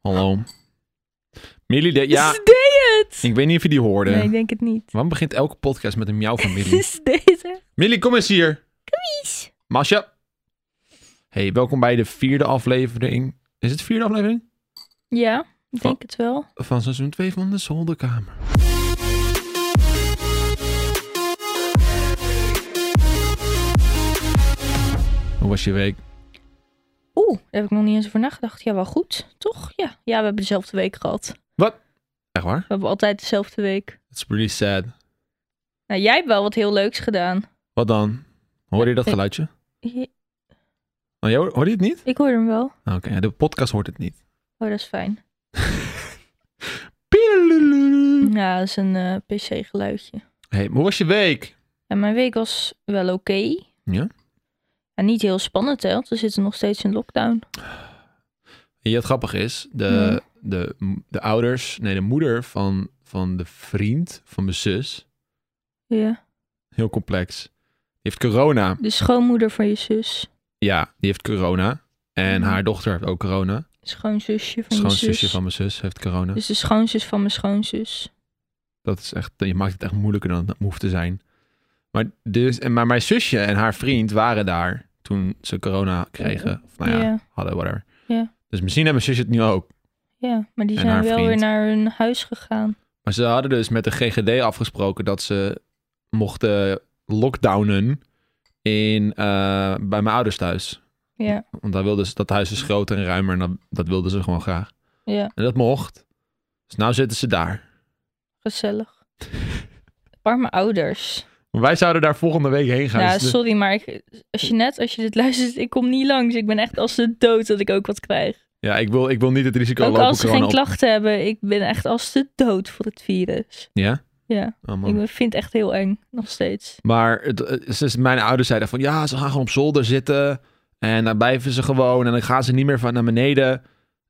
Hallo. Millie, de- ja, Ze deed het! ik weet niet of je die hoorde. Nee, ik denk het niet. Waarom begint elke podcast met een miauw van Millie? Ze deed het. Millie, kom eens hier. Mies. Masha. Hey, welkom bij de vierde aflevering. Is het vierde aflevering? Ja, ik denk Oh. het wel. Van seizoen 2 van de Zolderkamer. Hoe was je week? Oeh, daar heb ik nog niet eens over nagedacht. Ja, wel goed, toch? Ja, ja we hebben dezelfde week gehad. Echt waar? We hebben altijd dezelfde week. It's pretty sad. Nou, jij hebt wel wat heel leuks gedaan. Wat dan? Hoor je dat Ik- geluidje? Je- Oh, jij hoor hoor je het niet? Ik hoor hem wel. Ah, Oké, ja, de podcast hoort het niet. Oh, dat is fijn. Pielululu. Ja, dat is een eh, pc-geluidje. Hey, maar hoe was je week? En mijn week was wel oké. Ja? En niet heel spannend, hè? Want we zitten nog steeds in lockdown. Ja, het grappig is, de, de, de ouders, nee, de moeder van, van de vriend van mijn zus, Ja. heel complex, die heeft corona. De schoonmoeder van je zus. Ja, die heeft corona. En Mhm. haar dochter heeft ook corona. Schoonzusje van je zus. Schoonzusje van mijn zus heeft corona. Dus de schoonzus van mijn schoonzus. Dat is echt, je maakt het echt moeilijker dan het hoeft te zijn. Maar, dus, en, maar mijn zusje en haar vriend waren daar toen ze corona kregen. Of nou ja, Ja. hadden, whatever. Ja. Dus misschien hebben mijn zusje het nu ook. Ja, maar die En zijn haar wel weer vriend. naar hun huis gegaan. Maar ze hadden dus met de GGD afgesproken dat ze mochten lockdownen in, eh, bij mijn ouders thuis. Ja, Want daar wilden ze, dat huis is groter en ruimer en dat, dat wilden ze gewoon graag. ja, En dat mocht. Dus nu zitten ze daar. gezellig. Arme ouders. Maar wij zouden daar volgende week heen gaan. Ja, Dus de- sorry, maar ik, als je net, als je dit luistert, ik kom niet langs. Ik ben echt als de dood dat ik ook wat krijg. ja ik, wil, ik wil niet het risico ook lopen als ze corona geen op- klachten hebben, ik ben echt als de dood voor het virus. Ja? Ja, Oh, man. ik ben- vind het echt heel eng, nog steeds. Maar het, het- ze- mijn ouders zeiden van... Ja, ze gaan gewoon op zolder zitten. En dan blijven ze gewoon. En dan gaan ze niet meer van naar beneden.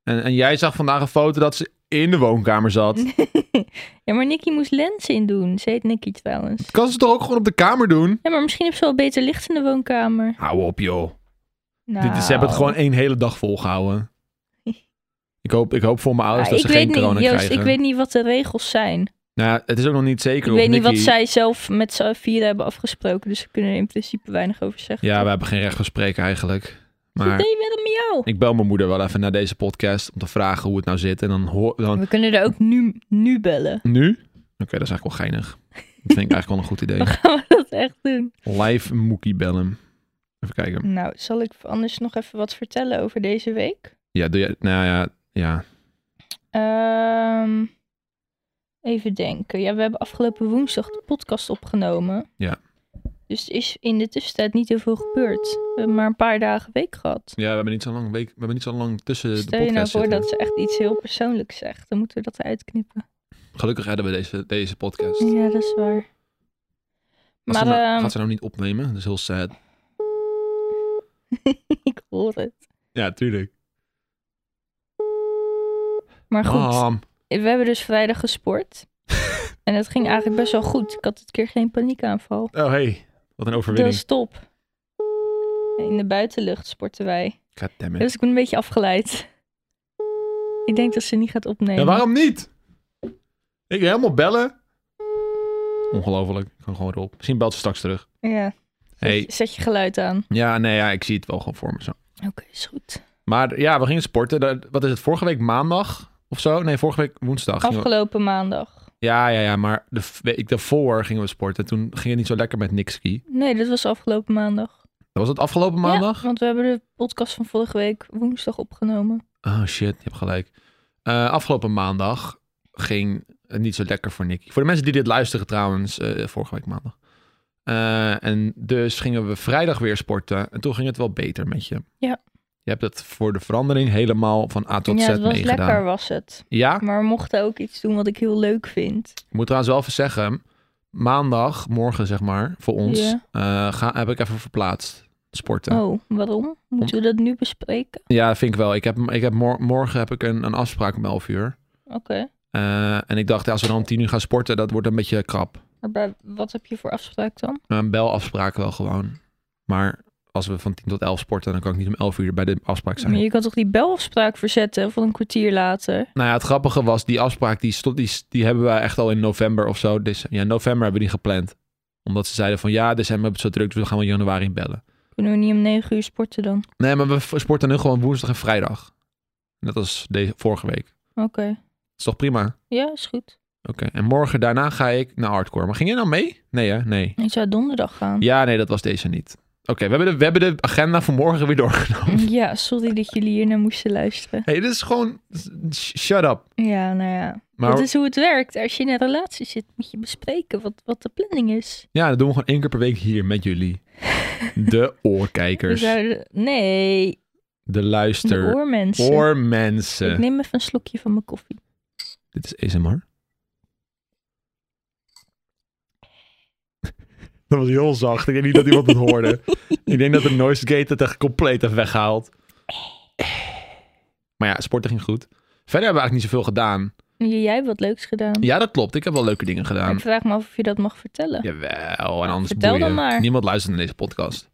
En, en jij zag vandaag een foto dat ze in de woonkamer zat. ja, maar Nicky moest lenzen in doen. Ze heet Nicky trouwens. Kan ze toch ook gewoon op de kamer doen? Ja, maar misschien heeft ze wel beter licht in de woonkamer. Hou op, joh. Nou, Dit is, ze hebben het gewoon één hele dag volgehouden. Ik hoop, ik hoop voor mijn ouders Ah, dat ik ze weet geen corona niet, Joost, krijgen. ik weet niet wat de regels zijn. Nou, ja, het is ook nog niet zeker Ik of weet niet wat Nicky- zij zelf met z'n vieren hebben afgesproken, dus we kunnen er in principe weinig over zeggen. Ja, we hebben geen recht van spreken eigenlijk. maar... Maar... Nee, met een miauw. Ik bel mijn moeder wel even naar deze podcast om te vragen hoe het nou zit. En dan hoor dan... We kunnen er ook nu, nu bellen. Nu? Oké, dat is eigenlijk wel geinig. Dat vind ik eigenlijk wel een goed idee. We gaan we dat echt doen. Live Moekie bellen. Even kijken. Nou, zal ik anders nog even wat vertellen over deze week? Ja, doe je... Nou ja, ja. Ehm, even denken. Ja, we hebben afgelopen woensdag de podcast opgenomen. Ja. Dus er is in de tussentijd niet heel veel gebeurd. We hebben maar een paar dagen week gehad. Ja, we hebben niet zo lang, week... we hebben niet zo lang tussen de Stel je nou podcast voor zitten. dat ze echt iets heel persoonlijks zegt, dan moeten we dat eruit knippen. Gelukkig hebben we deze, deze podcast. Ja, dat is waar. Als Maar ze nou- ehm, gaat ze nou niet opnemen? Dat is heel sad. ik hoor het. Ja, tuurlijk. Maar goed, Mam. we hebben dus vrijdag gesport. en het ging eigenlijk best wel goed. Ik had dit keer geen paniekaanval. Oh, hey. Wat een Dat overwinning. is top. In de buitenlucht sporten wij. God damn it. Dus ik ben een beetje afgeleid. Ik denk dat ze niet gaat opnemen. Ja, waarom niet? Ik wil helemaal bellen. Ongelooflijk. Ik kan gewoon erop. Misschien belt ze straks terug. Ja. Zet, Hey. je, zet je geluid aan. Ja, nee, ja, ik zie het wel gewoon voor me zo. Oké, is goed. Maar ja, we gingen sporten. Dat- Wat is het? Vorige week maandag of zo? Nee, vorige week woensdag. gingen we- Afgelopen maandag. Ja, ja, ja. Maar de f- week daarvoor gingen we sporten. Toen ging het niet zo lekker met Nixki. Nee, dit was afgelopen maandag. Dat was het afgelopen maandag? Ja, want we hebben de podcast van vorige week woensdag opgenomen. Oh shit, je hebt gelijk. Eh, afgelopen maandag ging het niet zo lekker voor Nicky. Voor de mensen die dit luisteren trouwens, eh, vorige week maandag. Eh, en dus gingen we vrijdag weer sporten. En toen ging het wel beter met je. Ja. Je hebt het voor de verandering helemaal van A tot ja, Z het was meegedaan. lekker was het. Ja, Maar we mochten ook iets doen wat ik heel leuk vind. ik moet trouwens wel even zeggen. Maandag, morgen zeg maar, voor ons, Ja. eh, ga, heb ik even verplaatst sporten. Oh, waarom? Moeten we dat nu bespreken? Ja, vind ik wel. Ik heb, ik heb mor- morgen heb ik een, een afspraak om 11 uur. Oké. Eh, en ik dacht, ja, als we dan om tien uur gaan sporten, dat wordt een beetje krap. Maar bij- wat heb je voor afspraak dan? Een belafspraak wel gewoon. Maar als we van 10 tot 11 sporten, dan kan ik niet om 11 uur bij de afspraak zijn. Maar je kan toch die belafspraak verzetten van een kwartier later? Nou ja, het grappige was, die afspraak die, stond, die, die hebben we echt al in november of zo. Dus, ja, november hebben we die gepland. Omdat ze zeiden van ja, december hebben we het zo druk, dus we gaan wel januari inbellen. Kunnen we niet om negen uur sporten dan? Nee, maar we v- sporten nu gewoon woensdag en vrijdag. Net als deze, vorige week. Oké. is toch prima? Oké, Ja, is goed. en morgen daarna ga ik naar hardcore. Maar ging jij nou mee? Nee hè? Nee. Ik zou donderdag gaan. Ja, nee, dat was deze niet. Oké, we, hebben de- we hebben de agenda voor morgen weer doorgenomen. Ja, sorry dat jullie hier naar moesten luisteren. Hé, hey, dit is gewoon... sh- Shut up. Ja, nou ja. Maar Dat is hoe het werkt. Als je in een relatie zit, moet je bespreken wat, wat de planning is. ja, dat doen we gewoon één keer per week hier met jullie. De We oorkijkers. zouden... Nee, De de luister. oormensen. Voor Ik mensen. neem even een slokje van mijn koffie. Dit is ASMR. Dat was heel zacht. Ik denk niet dat iemand het hoorde. Ik denk dat de noise gate het echt compleet heeft weggehaald. Maar ja, sporten ging goed. Verder hebben we eigenlijk niet zoveel gedaan. Jij hebt wat leuks gedaan. Ja, dat klopt. Ik heb wel leuke dingen Maar gedaan. ik vraag me af of je dat mag vertellen. Jawel, en anders Vertel boeien. dan maar. Niemand luistert naar deze podcast.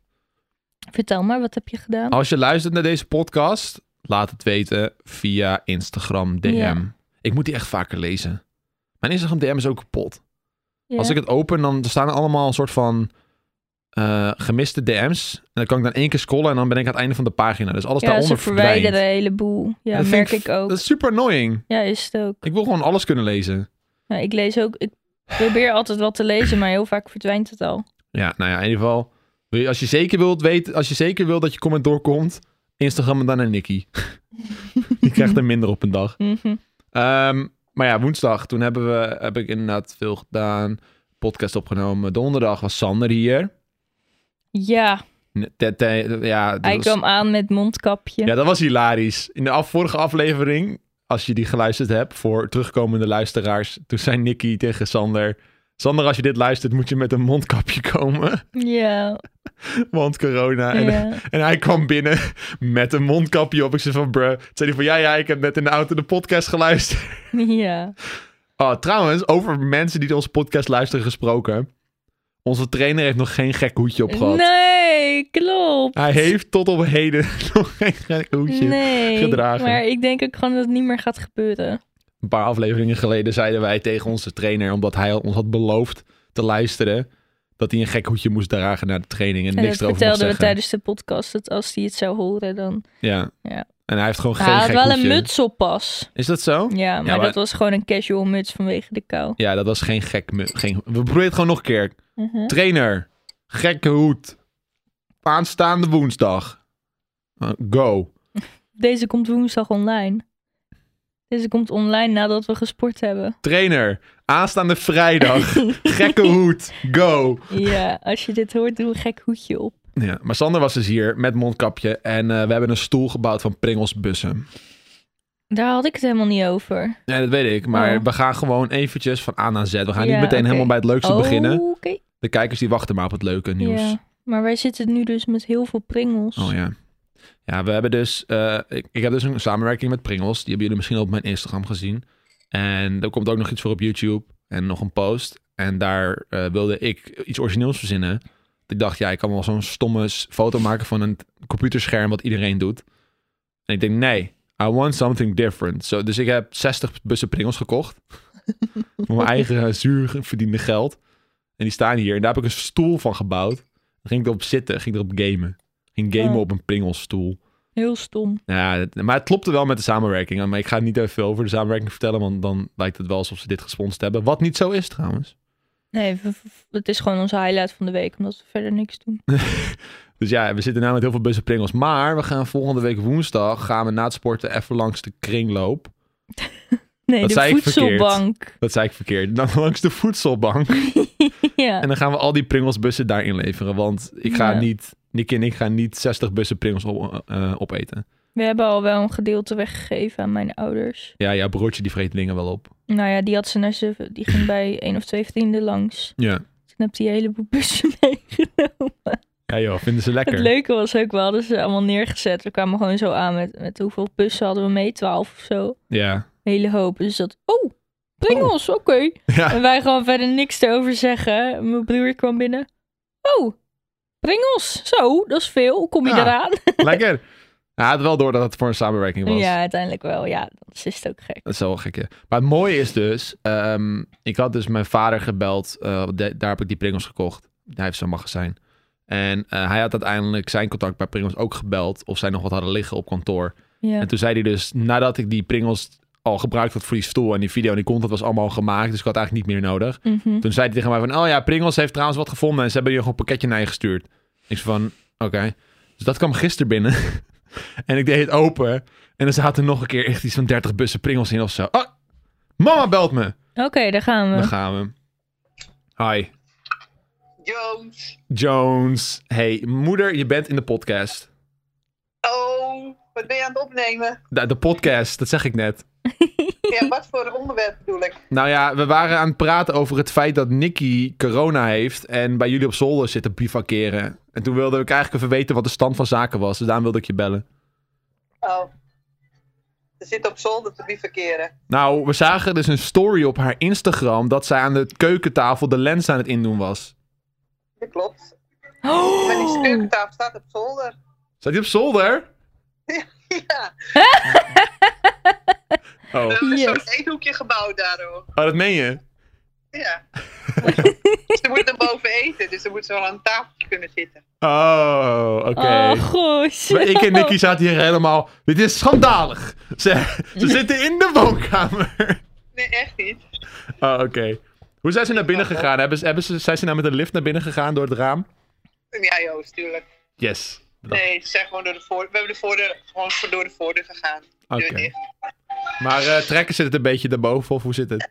Vertel maar, wat heb je gedaan? Als je luistert naar deze podcast, laat het weten via Instagram DM. Ja. Ik moet die echt vaker lezen. Mijn Instagram DM is ook kapot. Ja. Ah, Als ik het open, dan staan er allemaal een soort van eh, gemiste DM's. En dan kan ik dan één keer scrollen en dan ben ik aan het einde van de pagina. Dus alles ja, ze daaronder verdwijnt. verwijderen een heleboel. Ja, Dat vind dus- merk ik ook. Dat is super annoying. Ja, is het ook. Ik wil gewoon alles kunnen lezen. Ja, ik lees ook. Ik probeer altijd wat te lezen, maar heel vaak verdwijnt het al. Ja, nou ja, in ieder geval. wil je- Als je zeker wilt weten, als je zeker wilt dat je comment doorkomt, Instagram en dan naar Nicky. Die krijgt er minder op een dag. Mhm. Ehm, maar ja, woensdag, toen hebben we, heb ik inderdaad veel gedaan. Podcast opgenomen. Donderdag was Sander hier. Ja, Ted- Ted- Ja, dat hij was- kwam aan met mondkapje. Dus- Ja, dat was hilarisch. In de af, vorige aflevering, als je die geluisterd hebt voor terugkomende luisteraars, toen zei Nicky tegen Sander: Sander, als je dit luistert, moet je met een mondkapje komen, Ja, want corona. En, ja. en hij kwam binnen met een mondkapje op. Ik zei van, bruh. Toen zei hij van, ja, ja, ik heb net in de auto de podcast geluisterd. ja. Oh, trouwens, over mensen die onze podcast luisteren gesproken. Onze trainer heeft nog geen gek hoedje op gehad. Nee, klopt. Hij heeft tot op heden nog geen gek hoedje. nee, gedragen. maar ik denk ook gewoon dat het niet meer gaat gebeuren. een paar afleveringen geleden zeiden wij tegen onze trainer, omdat hij ons had beloofd te luisteren, dat hij een gek hoedje moest dragen naar de training en, En dat niks erover moest vertelden we zeggen. tijdens de podcast, dat als hij het zou horen dan... Ja. Ja. En hij heeft gewoon Hij geen had gek wel hoedje. een muts op pas. Is dat zo? Ja, maar, maar- dat was gewoon een casual muts vanwege de kou. Ja, dat was geen gek mu- geen... We proberen het gewoon nog een keer. Mhm. Trainer, gekke hoed. Aanstaande woensdag. Uh, go. Deze komt woensdag online. Deze komt online nadat we gesport hebben. Trainer, aanstaande vrijdag. gekke hoed. Go. Ja, als je dit hoort, doe een gek hoedje op. Ja, maar Sander was dus hier met mondkapje en eh, we hebben een stoel gebouwd van Pringelsbussen. Daar had ik het helemaal niet over. Ja, dat weet ik. Maar Oh. we gaan gewoon eventjes van A naar Z. We gaan Ja, niet meteen oké. helemaal bij het leukste beginnen. Oké. De kijkers die wachten maar op het leuke nieuws. Ja, maar wij zitten nu dus met heel veel pringels. Oh ja. Ja, we hebben dus... eh, ik, ik heb dus een samenwerking met Pringles. Die hebben jullie misschien al op mijn Instagram gezien. En er komt ook nog iets voor op YouTube. En nog een post. En daar eh, wilde ik iets origineels verzinnen. Ik dacht, ja, ik kan wel zo'n stomme s- foto maken van een computerscherm wat iedereen doet. En ik denk, nee, I want something different. Zo, dus ik heb 60 bussen Pringles gekocht. voor mijn eigen eh, zuur verdiende geld. En die staan hier. En daar heb ik een stoel van gebouwd. Dan ging ik erop zitten, ging erop gamen. Ging gamen Ja. op een Pringles-stoel. Heel stom. Nou Ja, het- maar het klopte wel met de samenwerking. Maar ik ga niet even over de samenwerking vertellen, want dan lijkt het wel alsof ze dit gesponsord hebben. Wat niet zo is trouwens. Nee, v- v- het is gewoon onze highlight van de week, omdat we verder niks doen. Dus ja, we zitten nu met heel veel bussen Pringles. Maar we gaan volgende week woensdag, gaan we na het sporten even langs de kringloop. Nee, Dat de zei ik verkeerd. voedselbank. Dat zei ik verkeerd. Dan langs de voedselbank. ja. En dan gaan we al die Pringles-bussen daar inleveren. Want ik ga Ja. niet, Nicky en ik gaan niet 60 bussen Pringles op, eh, opeten. We hebben al wel een gedeelte weggegeven aan mijn ouders. Ja, jouw broertje die vreet dingen wel op. Nou ja, die had ze naar ze, die ging bij één of twee vrienden langs. Ja. Toen heb die een heleboel bussen meegenomen. Ja joh, vinden ze lekker. Het leuke was ook, we hadden ze allemaal neergezet. We kwamen gewoon zo aan met, met hoeveel bussen hadden we mee? Twaalf of zo. Ja. Een hele hoop. Dus dat, oh, Pringles, oké. ja. En wij gewoon verder niks te over zeggen. Mijn broer kwam binnen. Oh, Pringels. Zo, dat is veel. Kom je Ja. eraan? Lekker. Hij had wel door dat het voor een samenwerking was. Ja, uiteindelijk wel. Ja, dat is het ook gek. Dat is wel gek, hè. Maar het mooie is dus, ehm, ik had dus mijn vader gebeld. eh, de- daar heb ik die Pringles gekocht. Hij heeft zo'n magazijn. En eh, hij had uiteindelijk zijn contact bij Pringles ook gebeld. Of zij nog wat hadden liggen op kantoor. Ja. En toen zei hij dus, nadat ik die Pringles al gebruikt had voor die stoel en die video en die content was allemaal al gemaakt, dus ik had eigenlijk niet meer nodig. Mhm. Toen zei hij tegen mij van, oh ja, Pringles heeft trouwens wat gevonden en ze hebben je gewoon een pakketje naar je gestuurd. Ik zei van, oké. Dus dat kwam gisteren binnen. en ik deed het open en er zaten nog een keer echt iets van 30 bussen Pringles in of zo. Oh, mama belt me. Oké, daar gaan Dan we. gaan we. Hi, Jones. Jones. Hey, moeder, je bent in de podcast. Oh, wat ben je aan het opnemen? De, de podcast, dat zeg ik net. Ja, wat voor onderwerp bedoel ik? Nou ja, we waren aan het praten over het feit dat Nicky corona heeft en bij jullie op zolder zit te bivakeren. En toen wilde ik eigenlijk even weten wat de stand van zaken was, dus daarom wilde ik je bellen. Oh. Ze zit op zolder te bivakeren. Nou, we zagen dus een story op haar Instagram dat zij aan de keukentafel de lens aan het indoen was. Dat klopt. Maar die Oh, keukentafel staat op zolder. Zat die op zolder? Ja, Oh, we oh hebben Yes. zo'n eethoekje gebouwd daarom. dat meen je? Ja. ze moet dan boven eten, dus ze moet zo aan een tafeltje kunnen zitten. Oh, oké. oh gosh. Maar ik en Nicky zaten hier helemaal... Dit is schandalig. Ze, ze zitten in de woonkamer. Nee, echt niet. Oh, oké. Hoe zijn ze naar binnen gegaan? Hebben ze, hebben ze, zijn ze nou met een lift naar binnen gegaan door het raam? Ja, Joost, tuurlijk. Yes. Nee, ze zijn gewoon door de voordeur. We hebben de voordeur gewoon voor- door de voordeur gegaan. Oké. Deur dicht. Maar eh, trekken ze het een beetje daarboven of hoe zit het?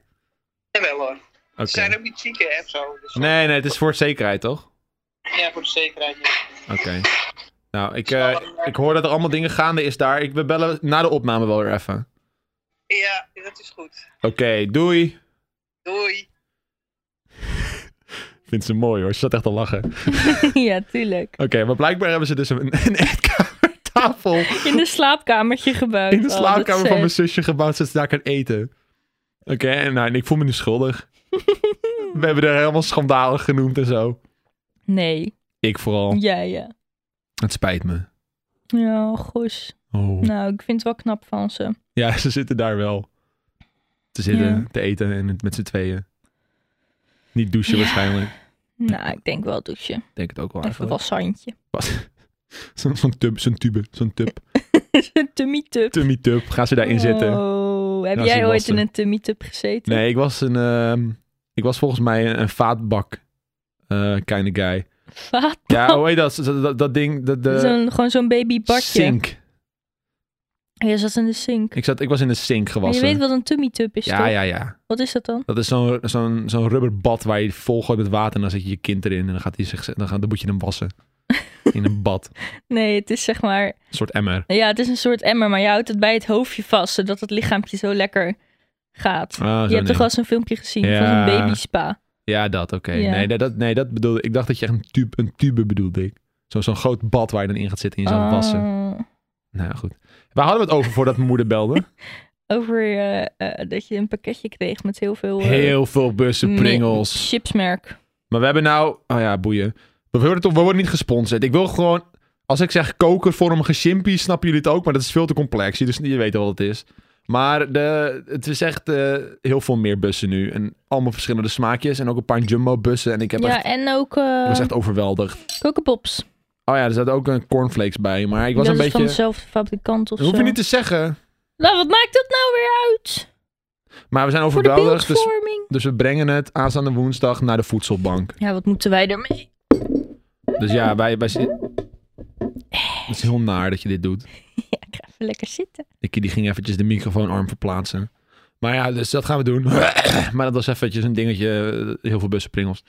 Jawel hoor. Oké. Ze zijn ook niet ziek hè, of zo. Dus Nee, nee, het is voor zekerheid, toch? Ja, voor de zekerheid. niet. Oké. Nou, ik, eh, ik hoor dat er allemaal dingen gaande is daar. Ik we bellen na de opname wel weer even. Ja, dat is goed. Oké, doei. Doei. Vindt ze mooi hoor, ze zat echt al lachen. Oké, ja, tuurlijk. maar blijkbaar hebben ze dus een, een eetkamertafel In de slaapkamertje gebouwd. in Oh, de dat slaapkamer van is mijn vet. zusje gebouwd, zodat ze daar kan eten. Oké, en nou, en ik voel me nu schuldig. We hebben er helemaal schandalig genoemd en zo. Nee. Ik vooral. Ja, ja. Het spijt me. Ja, oh, gosh. Oh. Nou, ik vind het wel knap van ze. Ja, ze zitten daar wel. Te zitten, Ja. te eten en het met z'n tweeën. Niet douchen Ja. waarschijnlijk. Nou, ik denk wel douchen. Ik denk het ook wel eigenlijk. Even wassandje. Wat? Zo'n zo'n tub, zo'n tube, zo'n tub. Een tummy tub. Tummy tub. Gaan ze daarin zitten? Oh, heb Nou, ze jij ooit wassen. in een tummy tub gezeten? Nee, ik was een... ehm, ik was volgens mij een, een vaatbak. eh kind of guy. Vaat? Ja, hoe heet dat? Dat, dat, dat ding... Dat, de Zo'n- gewoon zo'n baby badje. sink. Je zat in de sink. Ik, zat, ik was in een sink Maar je gewassen. weet wat een tummy tub is, ja, toch? ja, ja. Wat is dat dan? Dat is zo'n zo'n zo'n rubberbad waar je vol gooit met water en dan zet je je kind erin en dan, gaat hij zich, dan, gaat, dan moet je hem wassen. In een bad. Nee, het is zeg maar... Een soort emmer. Ja, het is een soort emmer, maar je houdt het bij het hoofdje vast, zodat het lichaampje zo lekker gaat. Ah, zo je hebt nee. toch wel eens een filmpje gezien van Ja. zo'n baby spa? Ja, dat, oké. Ja. Nee, dat- dat, nee, dat bedoelde ik. dacht dat je echt een tube, een tube bedoelde ik. Zo- Zo'n groot bad waar je dan in gaat zitten en je zou wassen. Oh, Nou ja, goed. Waar hadden we het over voordat mijn moeder belde? over eh, eh, dat je een pakketje kreeg met heel veel... eh, Heel veel bussen, me- pringels. Chipsmerk. Maar we hebben nou... Oh ja, boeien. We worden, toch, we worden niet gesponsord. Ik wil gewoon... Als ik zeg kokervormige chimpie, snappen jullie het ook. Maar dat is veel te complex. Dus je weet wel wat het is. Maar de, het is echt eh, heel veel meer bussen nu. En allemaal verschillende smaakjes. En ook een paar jumbo bussen. En ik, heb Ja, echt, en ook ik eh was echt overweldigd. Cocopops. Oh ja, er zat ook een cornflakes bij. Maar ik was dat een is beetje... van dezelfde fabrikant of Dat hoef zo. je niet te zeggen. Nou, wat maakt dat nou weer uit? Maar we zijn Voor de overweldigd. Dus, beeldvorming. dus we brengen het aanstaande woensdag naar de voedselbank. Ja, wat moeten wij ermee? Dus ja, wij. wij zi- het is heel naar dat je dit doet. Ja, ik ga even lekker zitten. Ik die ging eventjes de microfoonarm verplaatsen. Maar ja, dus dat gaan we doen. maar dat was eventjes een dingetje. eh, Heel veel bussen pringels.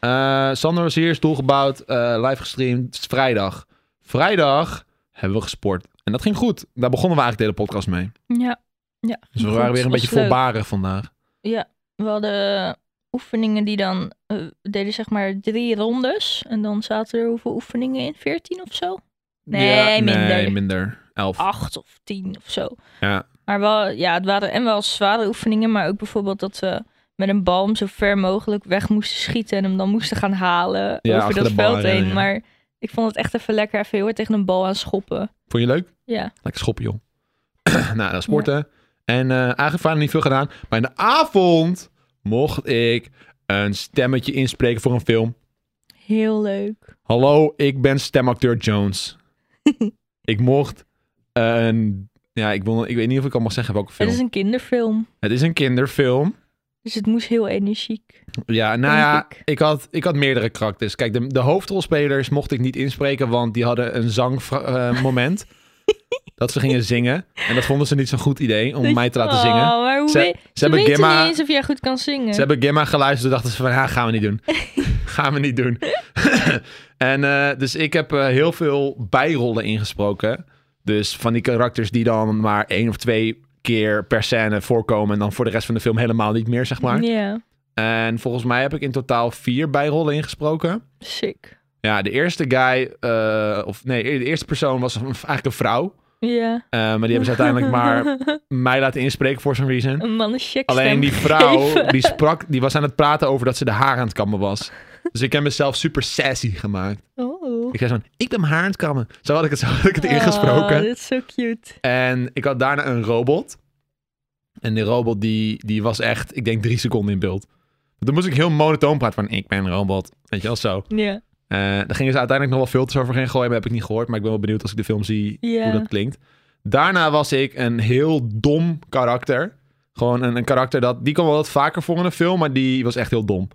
Eh, Sander was hier, stoel gebouwd, eh, live gestreamd. Het is vrijdag. Vrijdag hebben we gesport. En dat ging goed. Daar begonnen we eigenlijk de hele podcast mee. Ja. ja Dus we goed, waren weer een was beetje leuk. voorbarig vandaag. Ja, we hadden eh, oefeningen die dan... eh, we deden zeg maar drie rondes. En dan zaten er hoeveel oefeningen in? Veertien of zo? Nee, minder. Ah. Nee, minder. Elf. Acht of tien of zo. Ja. Maar wel, ja, het waren en wel zware oefeningen. Maar ook bijvoorbeeld dat we met een bal hem zo ver mogelijk weg moesten schieten en hem dan moesten gaan halen Ja, over achter dat de bal veld rennen, heen. ja. Maar ik vond het echt even lekker even heel hard tegen een bal aan schoppen. Vond je leuk? Ja, Lekker schoppen, joh. nou, dan sporten. En eh eigenlijk verder niet veel gedaan. Maar in de avond mocht ik een stemmetje inspreken voor een film. heel leuk. Hallo, ik ben stemacteur Jones. ik mocht een... Ja, ik, wil, ik weet niet of ik al mag zeggen welke film. Het is een kinderfilm, het is een kinderfilm. dus het moest heel energiek. Ja, nou Denk ja, ik. ik. had, ik had meerdere karakters. Kijk, de, de hoofdrolspelers mocht ik niet inspreken, want die hadden een zangmoment. dat ze gingen zingen. En dat vonden ze niet zo'n goed idee om Dat- mij te laten oh, zingen. Maar hoe Ze- weet- Ze hebben, weten Gemma, niet eens of jij goed kan zingen. ze hebben Gemma geluisterd en dachten ze van, ja, gaan we niet doen. gaan we niet doen. en eh, dus ik heb eh, heel veel bijrollen ingesproken. Dus van die karakters die dan maar één of twee keer per scène voorkomen... en dan voor de rest van de film helemaal niet meer, zeg maar. Ja, En volgens mij heb ik in totaal vier bijrollen ingesproken. sick. Ja, de eerste guy, eh, of nee, de eerste persoon was een- eigenlijk een vrouw. Ja. Eh, maar die hebben ze uiteindelijk maar mij laten inspreken voor some reason. een man is Alleen die vrouw, die sprak, die was aan het praten over dat ze de haar aan het kammen was. Dus ik heb mezelf super sassy gemaakt. Oh. Ik zei zo'n, ik ben mijn haar aan het kammen. Zo had ik het, zo had ik het ingesproken. Oh, dit is zo cute. En ik had daarna een robot. En die robot die, die was echt, ik denk drie seconden in beeld. Toen moest ik heel monotoon praten van, ik ben een robot. Weet je wel, zo. Ja. Eh, daar gingen ze uiteindelijk nog wel filters overheen gooien, maar heb ik niet gehoord. Maar ik ben wel benieuwd als ik de film zie Ja. hoe dat klinkt. Daarna was ik een heel dom karakter. Gewoon een, een karakter dat, die kwam wel wat vaker voor in een film, maar die was echt heel dom.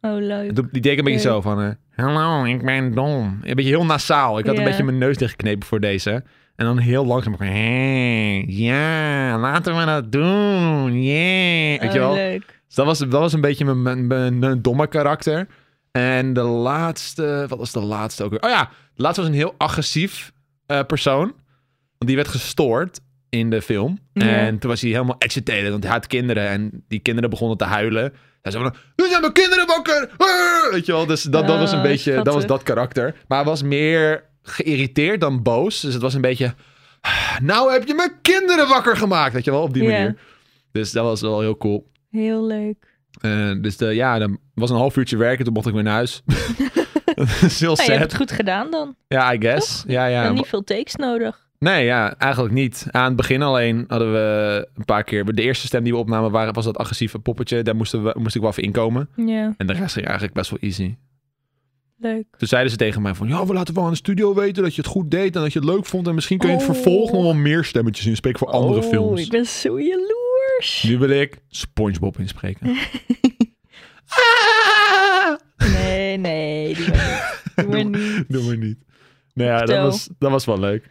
Oh, leuk. En toen- Die deed ik een beetje Leuk. zo van, eh, hallo, ik ben dom. Een beetje heel nasaal. Ik had Ja. een beetje mijn neus dichtgeknepen voor deze. En dan heel langzaam van, hé, ja, laten we dat doen, yeah. Weet je Oh, wel? leuk. Dus dat was, dat was een beetje mijn, mijn, mijn, mijn domme karakter. En de laatste, wat was de laatste ook weer? Oh ja, de laatste was een heel agressief eh, persoon. Want die werd gestoord in de film. Ja. En toen was hij helemaal agitated, want hij had kinderen. En die kinderen begonnen te huilen. Hij zei van, nu zijn mijn kinderen wakker! Ah! Weet je wel, dus dat, dat was een Oh, beetje, dat was schattig. dat karakter. Maar hij was meer geïrriteerd dan boos. Dus het was een beetje, nou heb je mijn kinderen wakker gemaakt! Weet je wel, op die Ja. manier. Dus dat was wel heel cool. Heel leuk. Eh, dus de, ja, er was een half uurtje werken, toen mocht ik weer naar huis. dat is heel Nou, je sad. hebt het goed gedaan dan. Ja, I guess. Ja, En ja. niet veel takes nodig. Nee, ja, eigenlijk niet. Aan het begin alleen hadden we een paar keer... De eerste stem die we opnamen waren, was dat agressieve poppetje. Daar moesten we, moest ik wel even inkomen. Ja, En de rest ging eigenlijk best wel easy. leuk. Toen zeiden ze tegen mij van... Ja, we laten wel aan de studio weten dat je het goed deed en dat je het leuk vond. En misschien kun je in het Oh. vervolg nog wel meer stemmetjes inspreken voor andere oh, films. ik ben zo jaloers. Nu wil ik Spongebob inspreken. Ah! Nee, nee. Doe maar niet. Doe maar niet. Doe maar niet. Nou ja, dat Vertel. was, dat was wel leuk.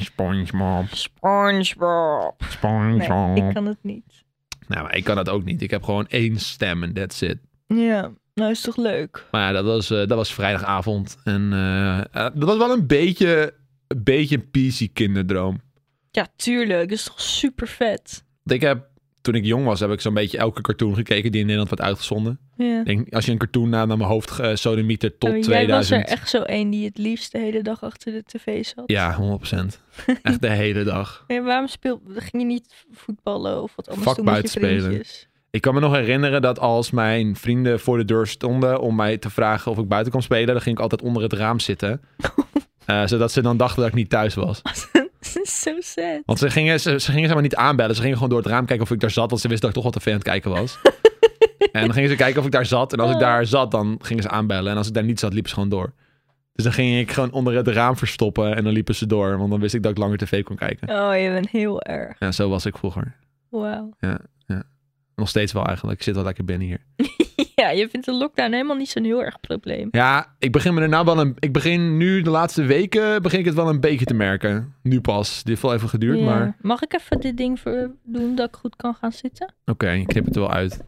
SpongeBob. SpongeBob. SpongeBob. Nee, ik kan het niet. Nou, maar ik kan dat ook niet. Ik heb gewoon één stem en that's it. Ja, nou is toch leuk. Maar ja, dat was, eh, dat was vrijdagavond. En eh, eh, dat was wel een beetje een, beetje een PC kinderdroom. Ja, tuurlijk. Dat is toch super vet. Want ik heb, toen ik jong was, heb ik zo'n beetje elke cartoon gekeken die in Nederland werd uitgezonden. Ja. Ik denk, als je een cartoon na naar mijn hoofd uh, sodemieter tot Oh, jij 2000. was er echt zo één die het liefst de hele dag achter de tv zat. Ja, 100%. Echt de hele dag. Nee, waarom speel... ging je niet voetballen of wat anders Vak doen met je buiten spelen. vriendjes? Ik kan me nog herinneren dat als mijn vrienden voor de deur stonden om mij te vragen of ik buiten kon spelen, dan ging ik altijd onder het raam zitten. Eh, zodat ze dan dachten dat ik niet thuis was. Dat is zo sad. Want ze gingen, ze, ze gingen zeg maar niet aanbellen. Ze gingen gewoon door het raam kijken of ik daar zat. Want ze wisten dat ik toch wat tv aan het kijken was. en dan gingen ze kijken of ik daar zat. En als ik daar zat, dan gingen ze aanbellen. En als ik daar niet zat, liepen ze gewoon door. Dus dan ging ik gewoon onder het raam verstoppen. En dan liepen ze door. Want dan wist ik dat ik langer tv kon kijken. Oh, je bent heel erg. Ja, zo was ik vroeger. Wauw. Nog steeds wel eigenlijk. Ik zit wel lekker binnen hier. Ja, je vindt de lockdown helemaal niet zo'n heel erg probleem. Ja, ik begin me er nou wel een. Ik begin nu de laatste weken begin ik het wel een beetje te merken. Nu pas. Dit heeft wel even geduurd, Ja. maar. Mag ik even dit ding voor doen dat ik goed kan gaan zitten? Oké, ik knip het er wel uit.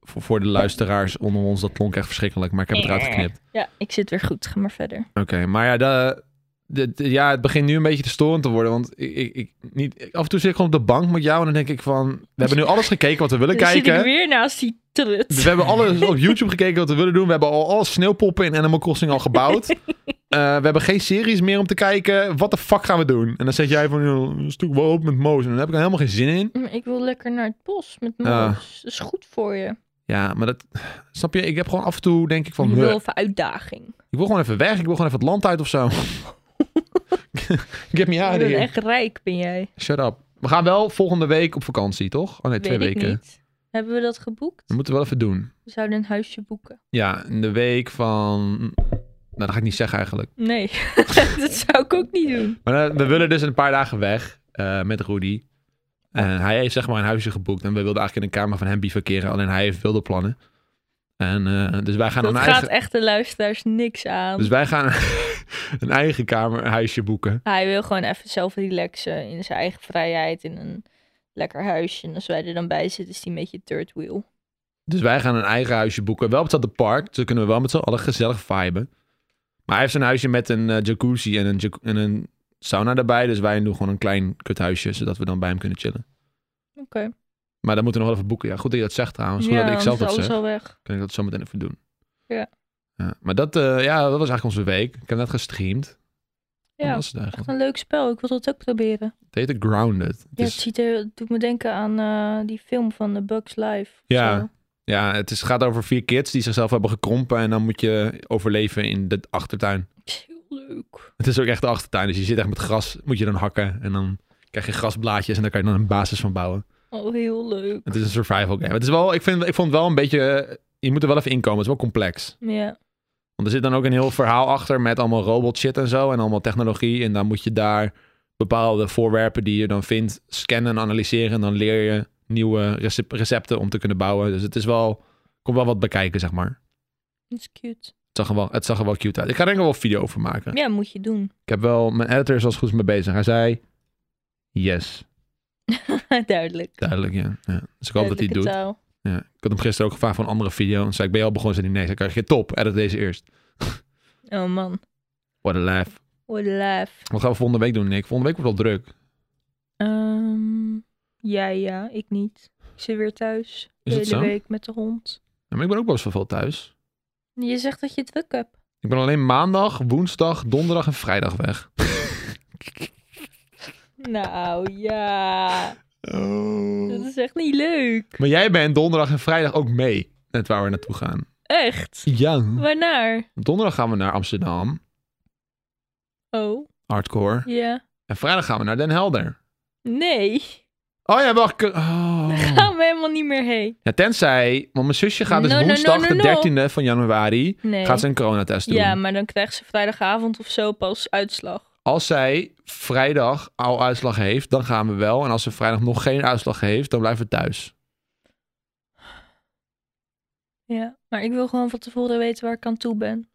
Voor, voor de luisteraars onder ons, dat klonk echt verschrikkelijk, maar ik heb het eruit geknipt. Ja, ik zit weer goed. Ga maar verder. Oké, maar ja, de, de- de- ja, het begint nu een beetje te storend te worden. Want ik, ik, ik, niet, ik- af en toe zit ik gewoon op de bank met jou en dan denk ik van. We hebben nu alles gekeken wat we willen Dan zit ik kijken. weer naast die trut. Dus We hebben alles op YouTube gekeken wat we willen doen. We hebben al alle sneeuwpoppen in Animal Crossing al gebouwd. eh, we hebben geen series meer om te kijken. Wat de fuck gaan we doen? En dan zet jij van, joh, een stuk wel op met Moos. En daar heb ik er helemaal geen zin in. Maar Ik wil lekker naar het bos met moes. Ja. Dat is goed voor je. Ja, maar dat... Snap je? Ik heb gewoon af en toe denk ik van... je "Bleh." wil even uitdaging. Ik wil gewoon even weg. Ik wil gewoon even het land uit of zo. Get me je out of bent here. echt rijk, ben jij. Shut up. We gaan wel volgende week op vakantie, toch? Oh nee, twee Weet weken. Hm. ik niet. Hebben we dat geboekt? Dat moeten we wel even doen. We zouden een huisje boeken. Ja, in de week van... Nou, dat ga ik niet zeggen eigenlijk. Nee, dat zou ik ook niet doen. Maar eh, we willen dus een paar dagen weg eh, met Rudy. En hij heeft zeg maar een huisje geboekt. En we wilden eigenlijk in de kamer van hem bivakeren. Alleen hij heeft wilde plannen. En eh, dus wij gaan dat een gaat eigen... echt de luisteraars niks aan. Dus wij gaan een eigen kamer, huisje boeken. Hij wil gewoon even zelf relaxen in zijn eigen vrijheid in een lekker huisje. En als wij er dan bij zitten, is die een beetje third wheel. Dus wij gaan een eigen huisje boeken. Wel op hetzelfde park. Dus dan kunnen we wel met z'n allen gezellig viben. Maar hij heeft een huisje met een eh, jacuzzi en een, jac- en een sauna erbij. Dus wij doen gewoon een klein kuthuisje. Zodat we dan bij hem kunnen chillen. Oké. Maar dan moeten we nog wel even boeken. Ja, goed dat je dat zegt trouwens. Goed dat ik anders zelf is dat alles zeg. al weg. Kan ik dat zo meteen even doen. Ja. Ja, maar dat, eh, ja, dat was eigenlijk onze week. Ik heb net gestreamd. Ja. Ja, Dat was het echt eigenlijk. een leuk spel. Ik wil dat ook proberen. Het heette Grounded. Het Ja, is- het, ziet er, het doet me denken aan eh, die film van The Bugs Life. of Ja. zo. ja, het is, gaat over vier kids die zichzelf hebben gekrompen. En dan moet je overleven in de achtertuin. Is Heel leuk. Het is ook echt de achtertuin. Dus je zit echt met gras, moet je dan hakken. En dan krijg je grasblaadjes en daar kan je dan een basis van bouwen. Oh, heel leuk. Het is een survival game. Het is wel, ik, vind, ik vond het wel een beetje, eh, je moet er wel even inkomen. Het is wel complex. Ja. Want er zit dan ook een heel verhaal achter met allemaal robot shit en zo. En allemaal technologie. En dan moet je daar bepaalde voorwerpen die je dan vindt scannen en analyseren. En dan leer je nieuwe recep- recepten om te kunnen bouwen. Dus het is wel, komt wel wat bekijken, zeg maar. Dat is cute. Het zag er wel, het zag er wel cute uit. Ik ga er denk ik wel een video over maken. Ja, moet je doen. Ik heb wel, mijn editor is als het goed is mee bezig. Hij zei, yes. Duidelijk. Duidelijk, ja. ja. Dus ik hoop dat hij het Duidelijke doet. taal. Ja. Ik had hem gisteren ook gevraagd voor een andere video. En zei ik, ben je al begonnen? Zei hij, nee. Zei ik, "Oké, top, edit deze eerst. Oh man, Oh, What a laugh. what a laugh. Wat gaan we volgende week doen, Nick? Volgende week wordt wel druk. Ehm, ja, ja, ik niet. Ik zit weer thuis. De Is het hele zo? week met de hond. Ja, maar ik ben ook wel eens veel thuis. Je zegt dat je het druk hebt. Ik ben alleen maandag, woensdag, donderdag en vrijdag weg. Nou ja, dat Oh. is echt niet leuk. Maar jij bent donderdag en vrijdag ook mee. Net waar we naartoe gaan. Echt? Ja. Waarnaar? Donderdag gaan we naar Amsterdam. Oh, Hardcore. ja. En vrijdag gaan we naar Den Helder. Nee, Oh ja, wacht. ik- Oh. gaan we helemaal niet meer heen. Ja, tenzij, want mijn zusje gaat dus No, no, no, woensdag no, de no. 13e van januari Nee. gaat ze een coronatest doen. Ja, maar dan krijgt ze vrijdagavond of zo pas uitslag. Als zij vrijdag al uitslag heeft, dan gaan we wel. En als ze vrijdag nog geen uitslag heeft, dan blijven we thuis. Ja, maar ik wil gewoon van tevoren weten waar ik aan toe ben.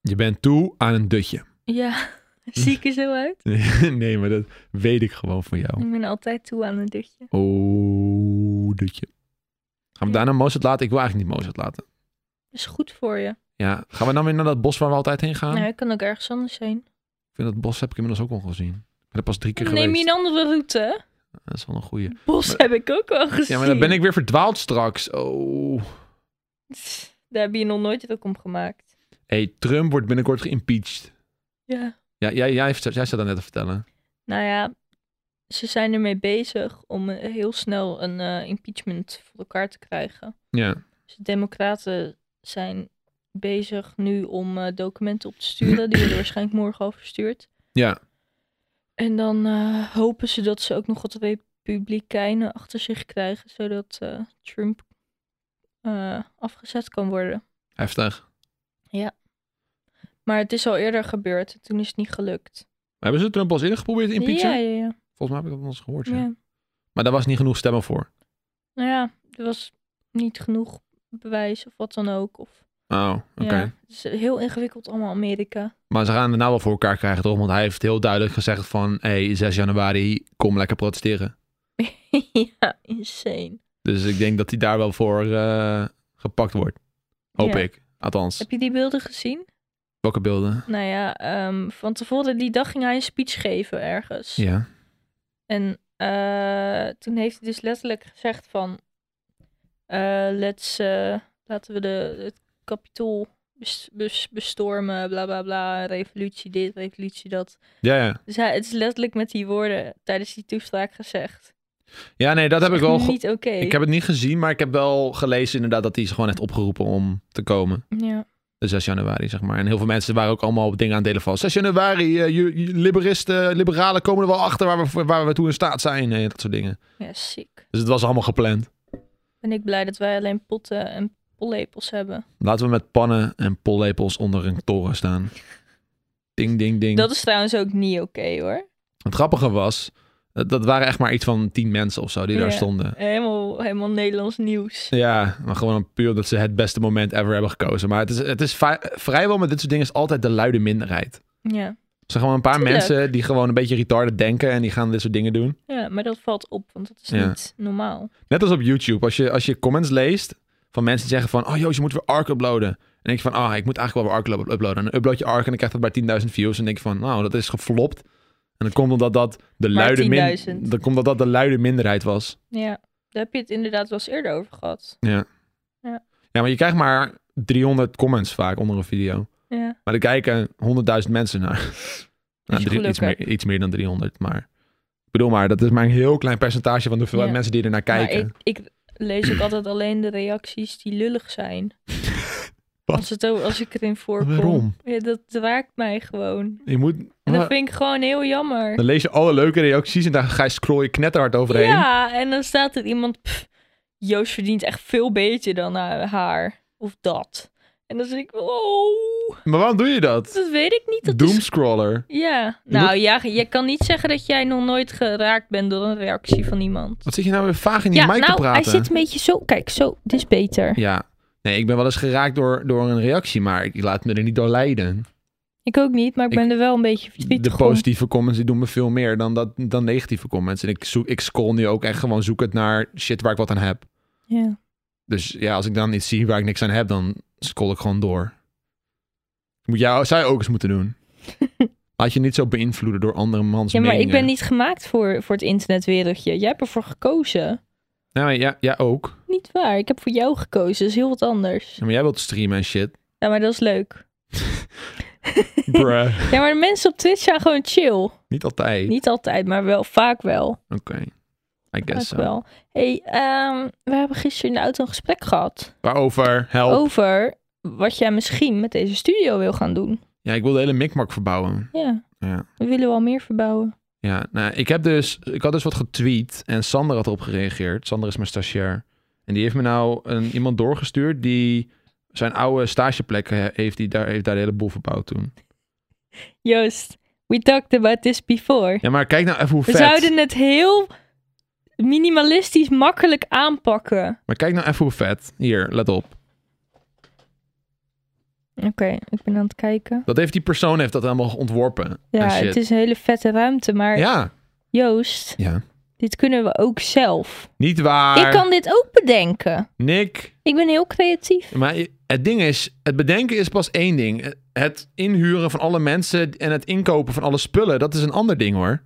Je bent toe aan een dutje. Ja, zie ik er zo uit? nee, maar dat weet ik gewoon van jou. Ik ben altijd toe aan een dutje. Oh, dutje. Gaan we daarna Mozart laten? Ik wil eigenlijk niet Mozart laten. Dat is goed voor je. Ja, gaan we dan weer naar dat bos waar we altijd heen gaan? Nou, ik kan ook ergens anders heen. Ik vind dat bos heb ik inmiddels ook al gezien. Ik ben er pas drie keer Dan geweest. neem je een andere route. Dat is wel een goeie. Bos heb ik ook wel gezien. Ja, maar dan ben ik weer verdwaald straks. Oh. Daar heb je nog nooit druk om gemaakt. hey, Trump wordt binnenkort geïmpeached. Ja. Ja, jij, jij, heeft- jij staat dat net te vertellen. Nou ja, ze zijn ermee bezig om eh, heel snel een eh, impeachment voor elkaar te krijgen. Ja. Dus de democraten zijn bezig nu om eh, documenten op te sturen. Die worden waarschijnlijk morgen al verstuurd. Ja. En dan eh, hopen ze dat ze ook nog wat republikeinen achter zich krijgen. Zodat eh, Trump eh, afgezet kan worden. Heftig. Maar het is al eerder gebeurd. Toen is het niet gelukt. Maar hebben ze Trump al eens eerder geprobeerd te impeachen? Ja, ja, ja. Volgens mij heb ik dat wel eens gehoord. ja. ja. Maar daar was niet genoeg stemmen voor. Nou ja, er was niet genoeg bewijs of wat dan ook. Of, Oh, oké. ja, het is heel ingewikkeld allemaal Amerika. Maar ze gaan het nou wel voor elkaar krijgen, toch? Want hij heeft heel duidelijk gezegd van... hey, 6 januari, kom lekker protesteren. ja, insane. Dus ik denk dat hij daar wel voor eh, gepakt wordt. Hoop Ja. ik. Althans. Heb je die beelden gezien? Welke beelden? Nou ja, ehm, van tevoren die dag ging hij een speech geven ergens. Ja. En eh, toen heeft hij dus letterlijk gezegd van... eh, let's, eh, laten we de, het kapitool bes- bes- bestormen, bla bla bla, revolutie dit, revolutie dat. Ja, ja. Dus hij, het is letterlijk met die woorden tijdens die toespraak gezegd. ja, nee, dat heb ik wel. ge- Niet oké. Ik heb het niet gezien, maar ik heb wel gelezen inderdaad dat hij ze gewoon heeft opgeroepen om te komen. Ja. De 6 januari, zeg maar. En heel veel mensen waren ook allemaal op dingen aan het delen van 6 januari, eh, ju- ju- liberisten, liberalen komen er wel achter waar we, waar we toe in staat zijn en dat soort dingen. ja, sick. Dus het was allemaal gepland. Ben ik blij dat wij alleen potten en pollepels hebben. Laten we met pannen en pollepels onder een toren staan. Ding, ding, ding. Dat is trouwens ook niet oké hoor. Het grappige was, dat, dat waren echt maar iets van 10 mensen of zo die daar Ja. stonden. Helemaal, helemaal Nederlands nieuws. Ja, maar gewoon puur dat ze het beste moment ever hebben gekozen. Maar het is, het is va- vrijwel met dit soort dingen is altijd de luide minderheid. Ja. Er zijn gewoon een paar Tuurlijk. mensen die gewoon een beetje retarded denken en die gaan dit soort dingen doen. ja, maar dat valt op, want dat is Ja. niet normaal. Net als op YouTube. Als je, als je comments leest van mensen die zeggen van, oh Joost, je moet weer ARC uploaden. En dan denk je van, ah, ik moet eigenlijk wel weer ARC uplo- uploaden. En dan upload je ARC en dan krijgt dat bij 10.000 views. En dan denk je van, nou, dat is geflopt. En dan komt omdat dat de Maar luide, min 10.000. dan komt omdat dat de luide minderheid was. Ja, daar heb je het inderdaad wel eens eerder over gehad. Ja, maar je krijgt maar 300 comments vaak onder een video. Ja. Maar er kijken 100.000 mensen naar. Nou, je drie- geluk iets, meer, iets meer dan 300, maar... Ik bedoel maar, dat is maar een heel klein percentage van de hoeveelheid Ja. mensen die er naar kijken. Maar ik, ik lees ook altijd alleen de reacties die lullig zijn. Wat? Als, het, o- als ik erin voorkom. Waarom? Ja, dat raakt mij gewoon. Je moet. En dat maar- vind ik gewoon heel jammer. dan lees je alle leuke reacties en daar ga je scroll je knetterhard overheen. Ja, en dan staat er iemand... "Pff, Joost verdient echt veel beter dan eh, haar. Of dat. En dan zeg ik... Oh, Maar waarom doe je dat? dat weet ik niet. Dat is... Doomscroller. Ja, Je moet- nou ja, je kan niet zeggen dat jij nog nooit geraakt bent door een reactie van iemand. Wat zit je nou weer vaag in die Ja, mic te nou, hij praten? zit een beetje zo. Kijk, zo, dit is beter. Ja. Nee, ik ben wel eens geraakt door, door een reactie, maar ik laat me er niet door leiden. Ik ook niet, maar ik, Ik- ben er wel een beetje verdrietig De om. positieve comments die doen me veel meer dan, dat, dan negatieve comments. En ik, zoek, ik scroll nu ook echt gewoon zoekend naar shit waar ik wat aan heb. Ja. Dus ja, als ik dan iets zie waar ik niks aan heb, dan scroll ik gewoon door. Moet jij, zou je ook eens moeten doen. Laat je niet zo beïnvloeden door andere mans ja, maar ik meningen. ben niet gemaakt voor, voor het internetwereldje. Jij hebt ervoor gekozen. Nou, maar ja, ja, ook. Niet waar, ik heb voor jou gekozen. Dat is heel wat anders. Ja, maar jij wilt streamen en shit. Ja, maar dat is leuk. Bruh. Ja, maar de mensen op Twitch zijn gewoon chill. Niet altijd. Niet altijd, maar wel vaak wel. Oké. I Vaak guess so. wel. hey, ehm, we hebben gisteren in de auto een gesprek gehad. Waarover? Help. Oh. Over wat jij misschien met deze studio wil gaan doen. Ja, ik wil de hele mikmak verbouwen. Ja. Ja. We willen wel meer verbouwen. Ja, nou, ik heb dus... Ik had dus wat getweet en Sander had erop gereageerd. Sander is mijn stagiair. En die heeft me nou een, iemand doorgestuurd die zijn oude stageplek he- heeft. Die daar, heeft daar de hele boel verbouwd toen. Joost, we talked about this before. Ja, maar kijk nou even hoe We vet... zouden het heel minimalistisch makkelijk aanpakken. Maar kijk nou even hoe vet. Hier, let op. Oké, ik ben aan het kijken. Dat heeft die persoon heeft dat helemaal ontworpen. Ja, en Ah, shit. het is een hele vette ruimte, maar Ja. Joost, Ja. dit kunnen we ook zelf. Niet waar. Ik kan dit ook bedenken. Nick... Ik ben heel creatief. Maar het ding is, het bedenken is pas één ding. Het inhuren van alle mensen en het inkopen van alle spullen, dat is een ander ding hoor.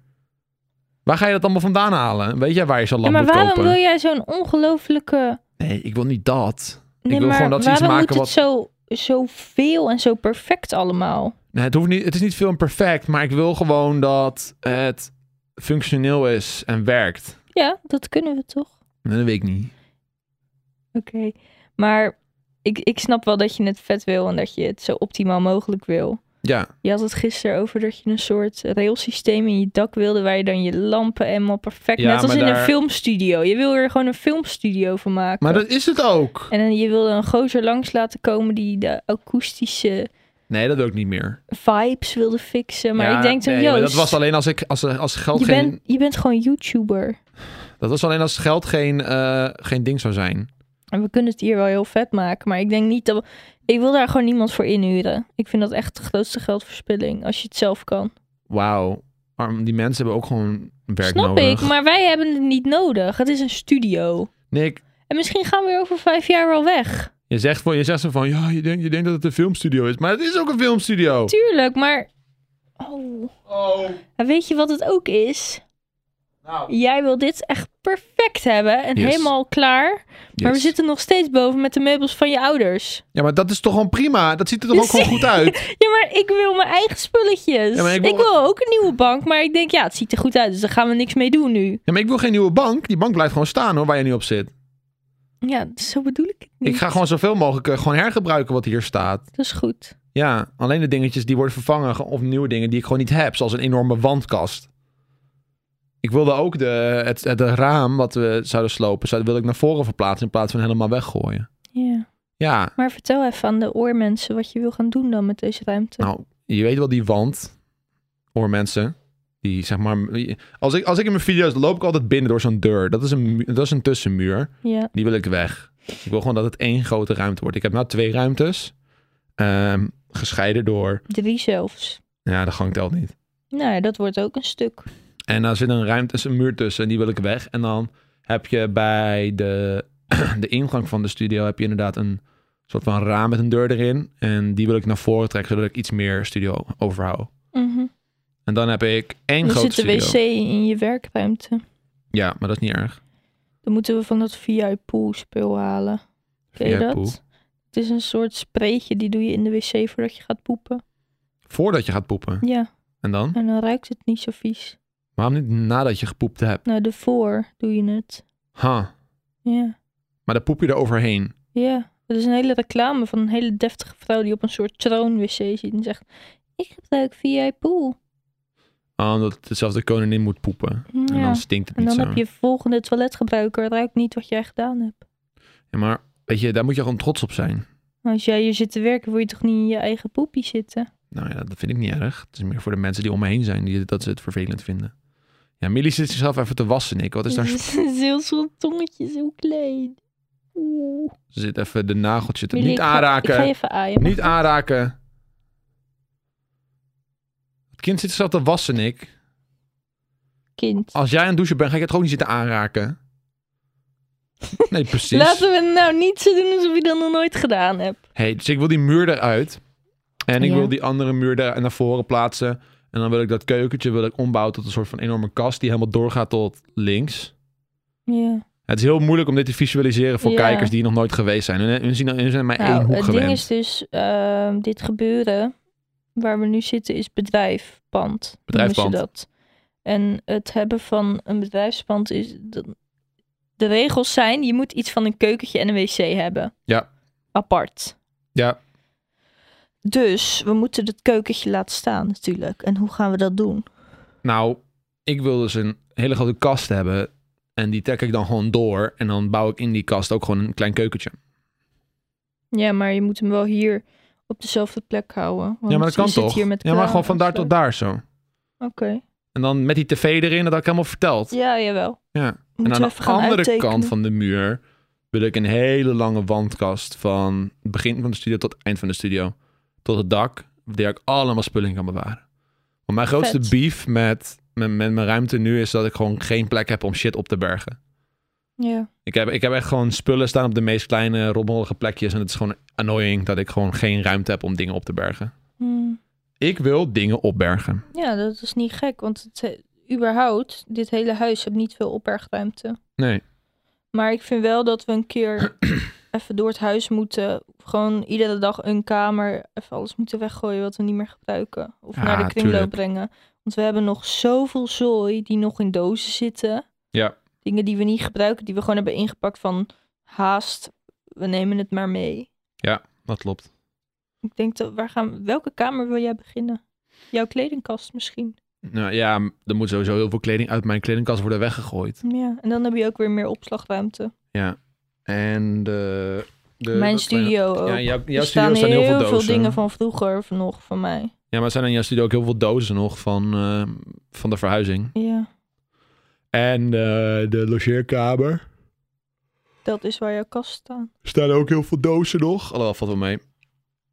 Waar ga je dat allemaal vandaan halen? Weet jij waar je zo'n Ja, lamp maar moet waarom kopen? wil jij zo'n ongelooflijke... Nee, ik wil niet dat. Nee, wil maar gewoon dat ze iets waarom maken moet het zo, zo veel en zo perfect allemaal? Nee, het, hoeft niet, het is niet veel perfect, maar ik wil gewoon dat het functioneel is en werkt. Ja, dat kunnen we toch? Nee, dat weet ik niet. Oké, maar ik, ik snap wel dat je het vet wil en dat je het zo optimaal mogelijk wil. Ja, Je had het gisteren over dat je een soort railsysteem in je dak wilde... waar je dan je lampen helemaal perfect... Ja, net als maar in een daar- filmstudio. Je wil er gewoon een filmstudio van maken. maar dat is het ook. En dan, je wilde een gozer langs laten komen... die de akoestische Nee, dat wil ik niet meer. vibes wilde fixen. Maar Ja, ik denk dan, nee, maar Joost, Dat was alleen als, ik, als, als geld je, geen... bent, je bent gewoon YouTuber. Dat was alleen als geld geen, eh, geen ding zou zijn. En we kunnen het hier wel heel vet maken. Maar ik denk niet dat... we- Ik wil daar gewoon niemand voor inhuren. Ik vind dat echt de grootste geldverspilling. Als je het zelf kan. Wauw. Arm, die mensen hebben ook gewoon werk Snap nodig. ik, maar wij hebben het niet nodig. Het is een studio. Nick, En misschien gaan we er over vijf jaar wel weg. je zegt, van, je zegt zo van, ja, je denkt, je denkt dat het een filmstudio is. Maar het is ook een filmstudio. Tuurlijk, maar. Oh. Oh. En weet je wat het ook is? Jij wil dit echt perfect hebben en Yes. helemaal klaar. Maar we Yes. zitten nog steeds boven met de meubels van je ouders. Ja, maar dat is toch gewoon prima? Dat ziet er toch ook gewoon goed uit? Ja, maar ik wil mijn eigen spulletjes. Ja, maar ik, ik wil... wil- ook een nieuwe bank, maar ik denk, ja, het ziet er goed uit, dus daar gaan we niks mee doen nu. Ja, maar ik wil geen nieuwe bank. Die bank blijft gewoon staan hoor, waar je nu op zit. Ja, dus zo bedoel ik het niet. Ik ga gewoon zoveel mogelijk eh, gewoon hergebruiken wat hier staat. Dat is goed. Ja, alleen de dingetjes die worden vervangen ge- of nieuwe dingen die ik gewoon niet heb. Zoals een enorme wandkast. Ik wilde ook de, het, het raam wat we zouden slopen, zou, wilde ik naar voren verplaatsen in plaats van helemaal weggooien. Ja. Ja, Maar vertel even aan de oormensen wat je wil gaan doen dan met deze ruimte. Nou, je weet wel die wand. Hoor mensen. Die zeg maar. Als ik, als ik in mijn video's loop ik altijd binnen door zo'n deur. Dat is, een, mu- dat is een tussenmuur. Ja. Die wil ik weg. Ik wil gewoon dat het één grote ruimte wordt. Ik heb nou twee ruimtes. ehm, gescheiden door. Drie zelfs. Ja, de gang telt niet. Nou ja, dat wordt ook een stuk. En daar zit een ruimte, is een muur tussen. En die wil ik weg. En dan heb je bij de, de ingang van de studio. Heb je inderdaad een soort van raam met een deur erin. En die wil ik naar voren trekken. Zodat ik iets meer studio overhoud. Mhm. En dan heb ik één Dan grote zit de studio. wc in je werkruimte. Ja, maar dat is niet erg. Dan moeten we van dat VI-pool-spul halen. Ken je dat? VIP-pool. Het is een soort spreetje, die doe je in de wc voordat je gaat poepen. Voordat je gaat poepen. Ja, En dan? en dan ruikt het niet zo vies. Waarom niet nadat je gepoept hebt? Nou, daarvoor doe je het. Ha, Ja, maar dan poep je er overheen. ja. Het is een hele reclame van een hele deftige vrouw die op een soort troon-wc zit en zegt... Ik gebruik VI-pool. Ah, Omdat het zelfs de koningin moet poepen. En Ja. dan stinkt het En niet dan zo. heb je volgende toiletgebruiker, ruikt niet wat jij gedaan hebt. Ja, maar weet je, daar moet je gewoon trots op zijn. Als jij hier zit te werken, wil je toch niet in je eigen poepie zitten? Nou ja, dat vind ik niet erg. Het is meer voor de mensen die om me heen zijn, die, dat ze het vervelend vinden. Ja, Millie zit zichzelf even te wassen, Nick. Wat is daar... Het is heel zo'n tongetje, zo klein. Oeh. Ze zit even de nageltje te... Millie, Niet ik ga- aanraken. Ik ga je even aaien. Niet aanraken. Het kind zit zichzelf te wassen, Nick. kind. Als jij aan het douchen bent, ga ik het gewoon niet zitten aanraken. Nee, precies. Laten we het nou niet zo doen alsof je dat nog nooit gedaan hebt. Hey, dus ik wil die muur eruit. En ik Ja. wil die andere muur daar naar voren plaatsen. En dan wil ik dat keukentje wil ik ombouwen tot een soort van enorme kast die helemaal doorgaat tot links. Ja. Het is heel moeilijk om dit te visualiseren voor Ja. kijkers die nog nooit geweest zijn. Hun, hun zien, hun zijn maar één Nou, hoek het gewend. ding is dus, ehm, dit gebeuren waar we nu zitten is bedrijfpand. Bedrijfspand. noemen ze dat. En het hebben van een bedrijfspand is... dat- de regels zijn, je moet iets van een keukentje en een wc hebben. Ja. Apart. Ja, Dus we moeten het keukentje laten staan natuurlijk. En hoe gaan we dat doen? nou, ik wil dus een hele grote kast hebben. En die trek ik dan gewoon door. En dan bouw ik in die kast ook gewoon een klein keukentje. Ja, maar je moet hem wel hier op dezelfde plek houden. Ja, maar dat want we kan zitten toch? Hier met Ja, maar gewoon van daar kraan tot daar zo. en zo. Oké. En dan met die tv erin, dat had ik helemaal verteld. Ja, jawel. Ja. En Moeten aan we de even gaan andere uittekenen. kant van de muur wil ik een hele lange wandkast van het begin van de studio tot het eind van de studio. Tot het dak, waar ik allemaal spullen in kan bewaren. Want mijn grootste Vet. beef met, met, met mijn ruimte nu is dat ik gewoon geen plek heb om shit op te bergen. Ja. Ik heb, ik heb echt gewoon spullen staan op de meest kleine, rommelige plekjes. En het is gewoon annoying dat ik gewoon geen ruimte heb om dingen op te bergen. Hmm. Ik wil dingen opbergen. Ja, dat is niet gek, want het, eh, überhaupt, dit hele huis heeft niet veel opbergruimte. Nee. Maar ik vind wel dat we een keer even door het huis moeten. Gewoon iedere dag een kamer, even alles moeten weggooien wat we niet meer gebruiken. Of Ja, naar de kringloop tuurlijk. brengen. Want we hebben nog zoveel zooi die nog in dozen zitten. Ja. Dingen die we niet gebruiken, die we gewoon hebben ingepakt van haast, we nemen het maar mee. Dat klopt. Ik denk, dat, waar gaan, welke kamer wil jij beginnen? Jouw kledingkast misschien. Nou ja, m- er moet sowieso heel veel kleding uit mijn kledingkast worden weggegooid. Ja, en dan heb je ook weer meer opslagruimte. Ja. En de... de Mijn Eh, dat kleine- studio ook. Ja, jouw, jouw er studio staan, staan heel, veel dozen. dingen van vroeger of nog van mij. Ja, maar er zijn in jouw studio ook heel veel dozen nog van, eh, van de verhuizing. Ja, En eh, de logeerkamer. dat is waar jouw kast staan. Staan ook heel veel dozen nog. Alhoewel, valt wel mee.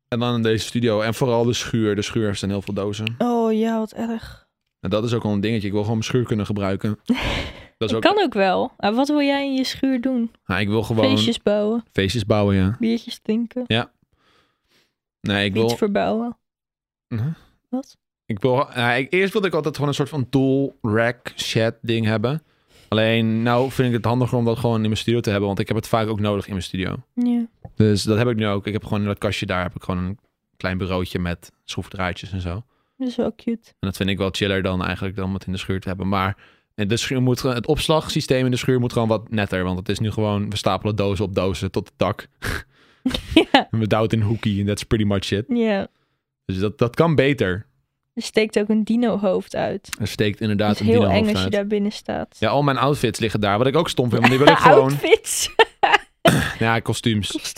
En dan in deze studio. En vooral de schuur. De schuur staan heel veel dozen. Oh ja, wat erg. En dat is ook wel een dingetje. Ik wil gewoon mijn schuur kunnen gebruiken. Dat is Dat ook... kan ook wel. Maar wat wil jij in je schuur doen? Nou, ik wil gewoon feestjes, Feestjes bouwen, bouwen, ja. biertjes drinken, Nee, ik iets wil... verbouwen. Huh? Wat? Ik wil, nou, ik- eerst wilde ik altijd gewoon een soort van tool, rack, chat ding hebben. Alleen, nou vind ik het handiger om dat gewoon in mijn studio te hebben, want ik heb het vaak ook nodig in mijn studio. Ja. Dus dat heb ik nu ook. Ik heb gewoon in dat kastje daar heb ik gewoon een klein bureautje met schroefdraadjes en zo. Dat is wel cute. En dat vind ik wel chiller dan eigenlijk dan om het in de schuur te hebben. Maar de schuur moet, gewoon- het opslagsysteem in de schuur moet gewoon wat netter. Want het is nu gewoon, we stapelen dozen op dozen tot de tak. ja. En we douwen het in een hoekie en that's pretty much it. ja. Dus dat, dat kan beter. Er steekt ook een dino-hoofd uit. Er steekt Dat inderdaad is een heel dino eng hoofd als je uit. daar binnen staat. Ja, al mijn outfits liggen daar. Wat ik ook stom vind, want die wil ik gewoon... Outfits. Ja, kostuums.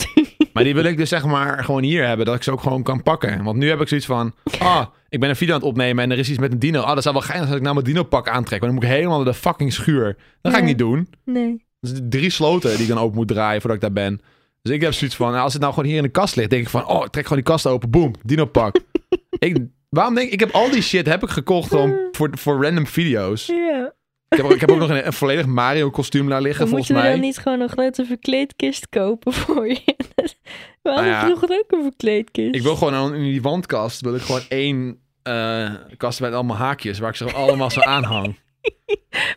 Maar die wil ik dus zeg maar gewoon hier hebben, dat ik ze ook gewoon kan pakken. Want nu heb ik zoiets van, ah, ik ben een video aan het opnemen en er is iets met een dino. Ah, dat zou wel geinig zijn als ik nou mijn dino pak aantrek. Maar dan moet ik helemaal naar de fucking schuur. Dat ga ik Ja. niet doen. nee. Dus drie sloten die ik dan open moet draaien voordat ik daar ben. Dus ik heb zoiets van, nou, als het nou gewoon hier in de kast ligt, denk ik van, oh, ik trek gewoon die kast open, boom, dino pak. ik, waarom denk ik, ik heb al die shit heb ik gekocht om, voor, voor random video's. Ja. Ik heb, ook- ik heb ook nog een, een volledig Mario kostuum daar liggen, Dan volgens moeten we mij. dan niet gewoon nog net een verkleedkist kopen voor je. we hadden Nou ja. vroeger ook een verkleedkist. Ik wil gewoon aan- in die wandkast, wil ik gewoon één eh, kast met allemaal haakjes, waar ik ze allemaal zo aanhang.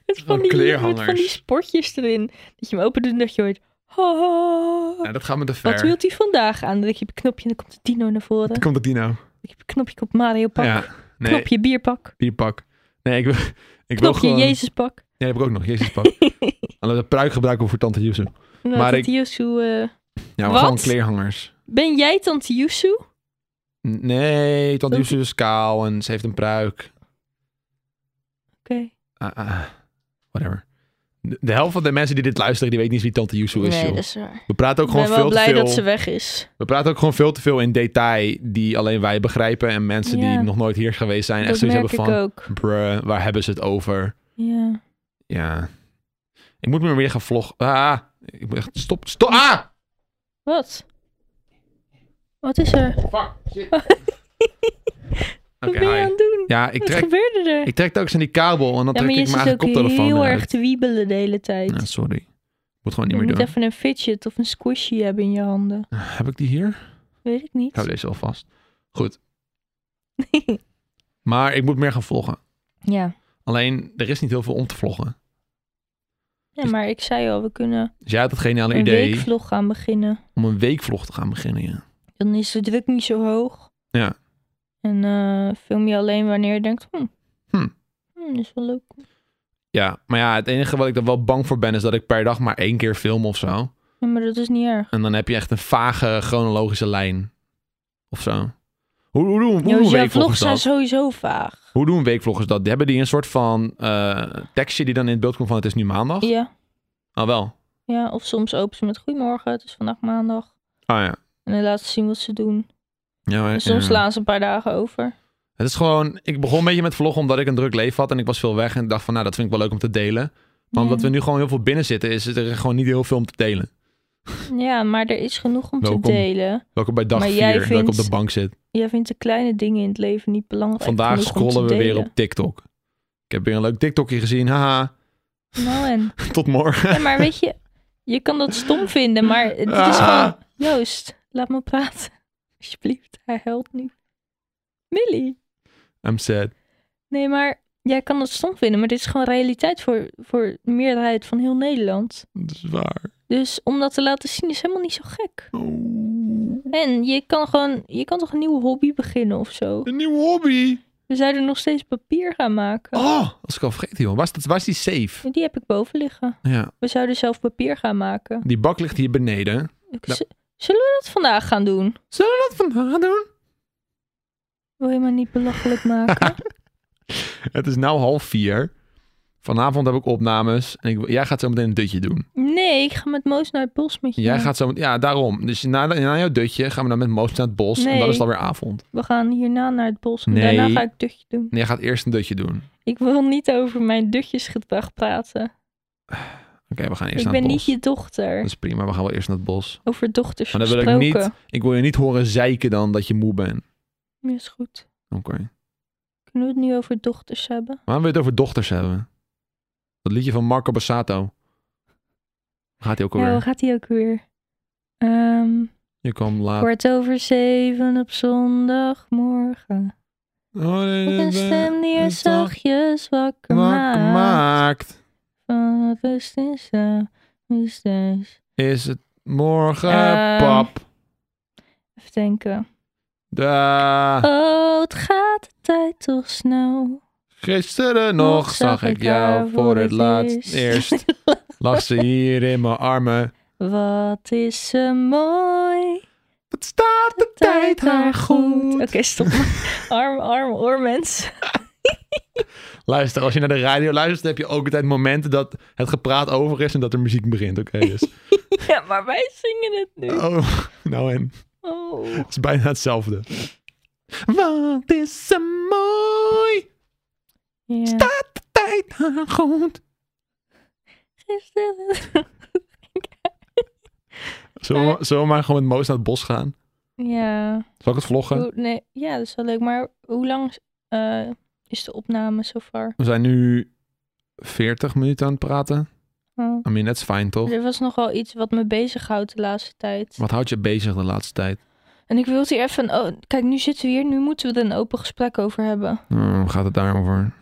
met een van die, met kleerhangers. van die sportjes erin. Dat je hem open doet en dat je hoort... "Ha, ha." Ja, dat gaat me te ver. Wat hield hij vandaag aan? Dan druk je op een knopje en dan komt de dino naar voren. Dan Dan komt de dino. druk je op een knopje op Mario pak. Ja, nee, Knopje bierpak. bierpak. Nee, ik wil, ik wil Knopje gewoon... Jezus pak. Ja, die heb ik ook nog, Jezus pak. Alleen de pruik gebruiken we voor Tante Yuzu. Maar Maar ik- ik... eh Ja, maar Wat? gewoon kleerhangers. ben jij Tante Yusu? N- Nee, Tante Tante- Yuzu is kaal en ze heeft een pruik. Oké. Ah, ah, whatever. De, de helft van de mensen die dit luisteren, die weet niet eens wie Tante Yuzu is. Nee, joh. dat is waar. We praten ook Ik gewoon ben wel veel te blij veel... dat ze weg is. We praten ook gewoon veel te veel in detail die alleen wij begrijpen. En mensen die Ja. nog nooit hier geweest zijn echt dat zoiets merk hebben ik van... ook. Bruh, waar hebben ze het over? Ja. Ja. Ik moet me weer gaan vloggen. Ah, ik moet echt... Stop, stop! Ah! Wat? Wat is er? Fuck, shit. Wat Oké, ben je hi. aan het doen? Ja, ik Wat trek, gebeurde er? ik trek telkens aan die kabel en dan ja, trek maar je ik mijn zit eigen ook koptelefoon heel eruit. Nou, erg te wiebelen de hele tijd. Ja, sorry. Moet gewoon je niet meer moet doen. even een fidget of een squishy hebben in je handen. Heb ik die hier? Weet ik Ik hou niet. deze al vast. Goed. Maar ik moet meer gaan vloggen. ja. Alleen, er is niet heel veel om te vloggen. ja, maar ik zei al, we kunnen Dus jij had het geniale een idee weekvlog gaan beginnen. om een weekvlog te gaan beginnen. Ja. Dan is de druk niet zo hoog. Ja. En eh, film je alleen wanneer je denkt, hm, Hm. hm, is wel leuk. ja, maar ja, het enige wat ik er wel bang voor ben is dat ik per dag maar één keer film of zo. Ja, maar dat is niet erg. En dan heb je echt een vage chronologische lijn. Of zo. Hoe, hoe, doen, hoe Jo, doen dus jouw weekvloggers vlogs zijn dat? sowieso vaag. Hoe doen weekvloggers dat? Hebben die een soort van eh, tekstje die dan in het beeld komt van het is nu maandag? Ja, Oh wel. ja, of soms open ze met goedemorgen, het is vandaag maandag. Oh ja. En dan laten ze zien wat ze doen. ja maar- En soms ja. slaan ze een paar dagen over. Het is gewoon, ik begon een beetje met vloggen omdat ik een druk leven had en ik was veel weg en ik dacht van, nou, dat vind ik wel leuk om te delen. Maar omdat we ja. nu gewoon heel veel binnen zitten, is er gewoon niet heel veel om te delen. ja, maar er is genoeg om Welkom. te delen. Welkom bij dag Maar 4, jij dat ik vindt- op de bank zit. Jij vindt de kleine dingen in het leven niet belangrijk. Vandaag genoeg om te scrollen we weer delen. op TikTok. Ik heb weer een leuk TikTokje gezien, haha. Nou en. Tot morgen. Ja, maar weet je, je kan dat stom vinden, maar het is Ah. gewoon... Joost, laat me praten. Alsjeblieft, hij huilt nu. Millie. I'm sad. Nee, maar jij kan dat stom vinden, maar dit is gewoon realiteit voor, voor de meerderheid van heel Nederland. Dat is waar. Dus om dat te laten zien is helemaal niet zo gek. Oh, En je kan gewoon, je kan toch een nieuwe hobby beginnen of zo. een nieuwe hobby. We zouden nog steeds papier gaan maken. Oh, als ik al vergeten, joh. Waar is, dat, waar is die safe? Die heb ik boven liggen. Ja, We zouden zelf papier gaan maken. die bak ligt hier beneden. Ja. Z- Zullen we dat vandaag gaan doen? Zullen we dat vandaag doen? Wil je me niet belachelijk maken? Het is nu half vier. Vanavond heb ik opnames. En ik, jij gaat zo meteen een dutje doen. Nee, ik ga met Moos naar het bos met je. Jij gaat zo met- ja, daarom. Dus na, na jouw dutje gaan we dan met Moos naar het bos. En Nee. dan is het alweer avond. We gaan hierna naar het bos en Nee. daarna ga ik dutje doen. En jij gaat eerst een dutje doen. Oké, Ik wil niet over mijn dutjesgedrag praten. we gaan eerst ik naar ben het niet bos. je dochter. Dat is prima, we gaan wel eerst naar het bos. Over dochters Maar dan wil ik gesproken. niet- Ik wil je niet horen zeiken dan dat je moe bent. Ja, is goed. Oké. Kunnen we het nu over dochters hebben? Waarom wil je het over dochters hebben? Dat liedje van Marco Bassato. Gaat hij ook alweer? Ja, hoe Oh, gaat die ook weer? Ehm, Je kwam laat. kwart over zeven op zondagmorgen. Oh, Met een stem die je zachtjes wakker maakt. maakt. Van rust in dus. slaap, is thuis. Is het morgen, Ehm. pap? Even denken. Da. Oh, het gaat de tijd toch snel. Gisteren nog zag ik jou voor het laatst. Eerst lag ze hier in mijn armen. Wat is ze mooi. Het staat de tijd haar Oké, goed. stop. arm, arm, oormens. Luister, als je naar de radio luistert, dan heb je ook altijd momenten dat het gepraat over is en dat er muziek begint. Oké, dus. ja, maar wij zingen het nu. Oh, nou en. Oh. Het is bijna hetzelfde. Wat is ze mooi. Ja. Staat de tijd haar goed. Gisteren- Zullen we, zullen we maar gewoon met Moos naar het bos gaan? ja. Zal ik het vloggen? Hoe- nee, ja, dat is wel leuk. Maar hoe lang eh, is de opname so far? We zijn nu 40 minuten aan het praten. Oh. I mean, that's fine, toch? Er was nogal iets wat me bezighoudt de laatste tijd. Wat houdt je bezig de laatste tijd? En ik wilde hier even... Oh, kijk, nu zitten we hier. Nu moeten we er een open gesprek over hebben. Hmm, gaat het daarover?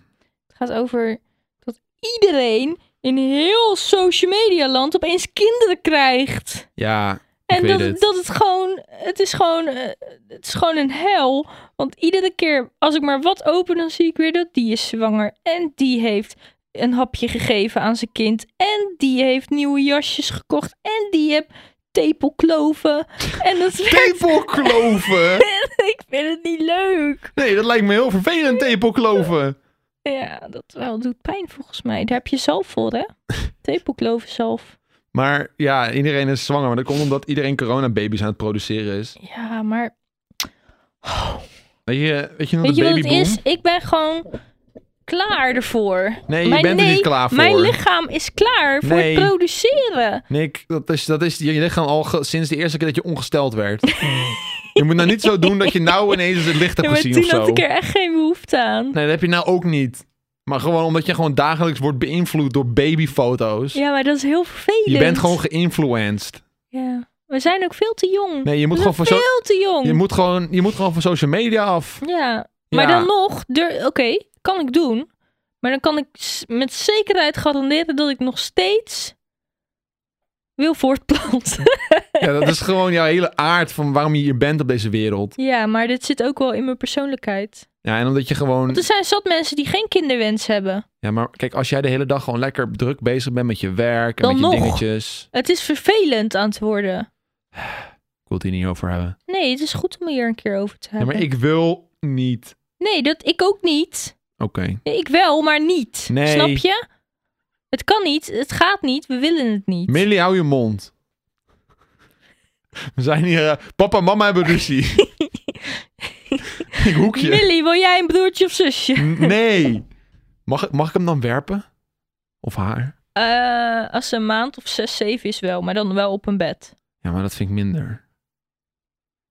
Het gaat over dat iedereen in heel social media land opeens kinderen krijgt. Ja, En weet dat, het. dat het gewoon, het is gewoon, eh, het is gewoon een hel. Want iedere keer als ik maar wat open, dan zie ik weer dat die is zwanger. En die heeft een hapje gegeven aan zijn kind. En die heeft nieuwe jasjes gekocht. En die heeft tepelkloven. En dat werkt. Tepelkloven! ik vind het niet leuk. Nee, dat lijkt me heel vervelend, tepelkloven. Ja, dat wel doet pijn volgens mij. Daar heb je zelf voor, hè? Tepelkloven zelf. Maar ja, iedereen is zwanger. Maar dat komt omdat iedereen coronababies aan het produceren is. Ja, maar Weet je, weet je nog weet de je wat het babyboom? is? Ik ben gewoon klaar ervoor. Nee, je Mijn- bent er nee, niet klaar voor. Mijn lichaam is klaar voor Nee. het produceren. Nick, dat is, dat is je lichaam al ge- sinds de eerste keer dat je ongesteld werd. je moet nou niet zo doen dat je nou ineens het licht hebt Ja, maar gezien of toen zo. had ik er echt geen behoefte aan. Nee, dat heb je nou ook niet. Maar gewoon omdat je gewoon dagelijks wordt beïnvloed door babyfoto's. Ja, maar dat is heel vervelend. je bent gewoon geïnfluenced. Ja. We zijn ook veel te jong. Nee, je moet We gewoon zijn voor zo veel te jong. je moet gewoon je moet gewoon van social media af. Ja. Maar Ja. dan nog, dur- oké, kan ik doen. Maar dan kan ik s- met zekerheid garanderen dat ik nog steeds wil voortplanten. Ja, dat is gewoon jouw hele aard van waarom je hier bent op deze wereld. ja, maar dit zit ook wel in mijn persoonlijkheid. Ja, en omdat je Want gewoon er zijn zat mensen die geen kinderwens hebben. Ja, maar kijk, als jij de hele dag gewoon lekker druk bezig bent met je werk en Dan met je nog. dingetjes. Het is vervelend aan het worden. Ik wil het hier niet over hebben. Nee, het is goed om hier een keer over te Ja, hebben. maar ik wil niet. Nee, dat ik ook niet. Oké. Nee, Ik wel, maar niet. Nee. Snap je? Het kan niet, het gaat niet, we willen het niet. Millie, hou je mond. We zijn hier. eh, papa en mama hebben ruzie. ik hoekje. Millie, wil jij een broertje of zusje? N- Nee. Mag, ik- mag ik hem dan werpen? Of haar? Eh, als ze een maand of zes, zeven is wel, maar dan wel op een bed. Ja, maar dat vind ik minder.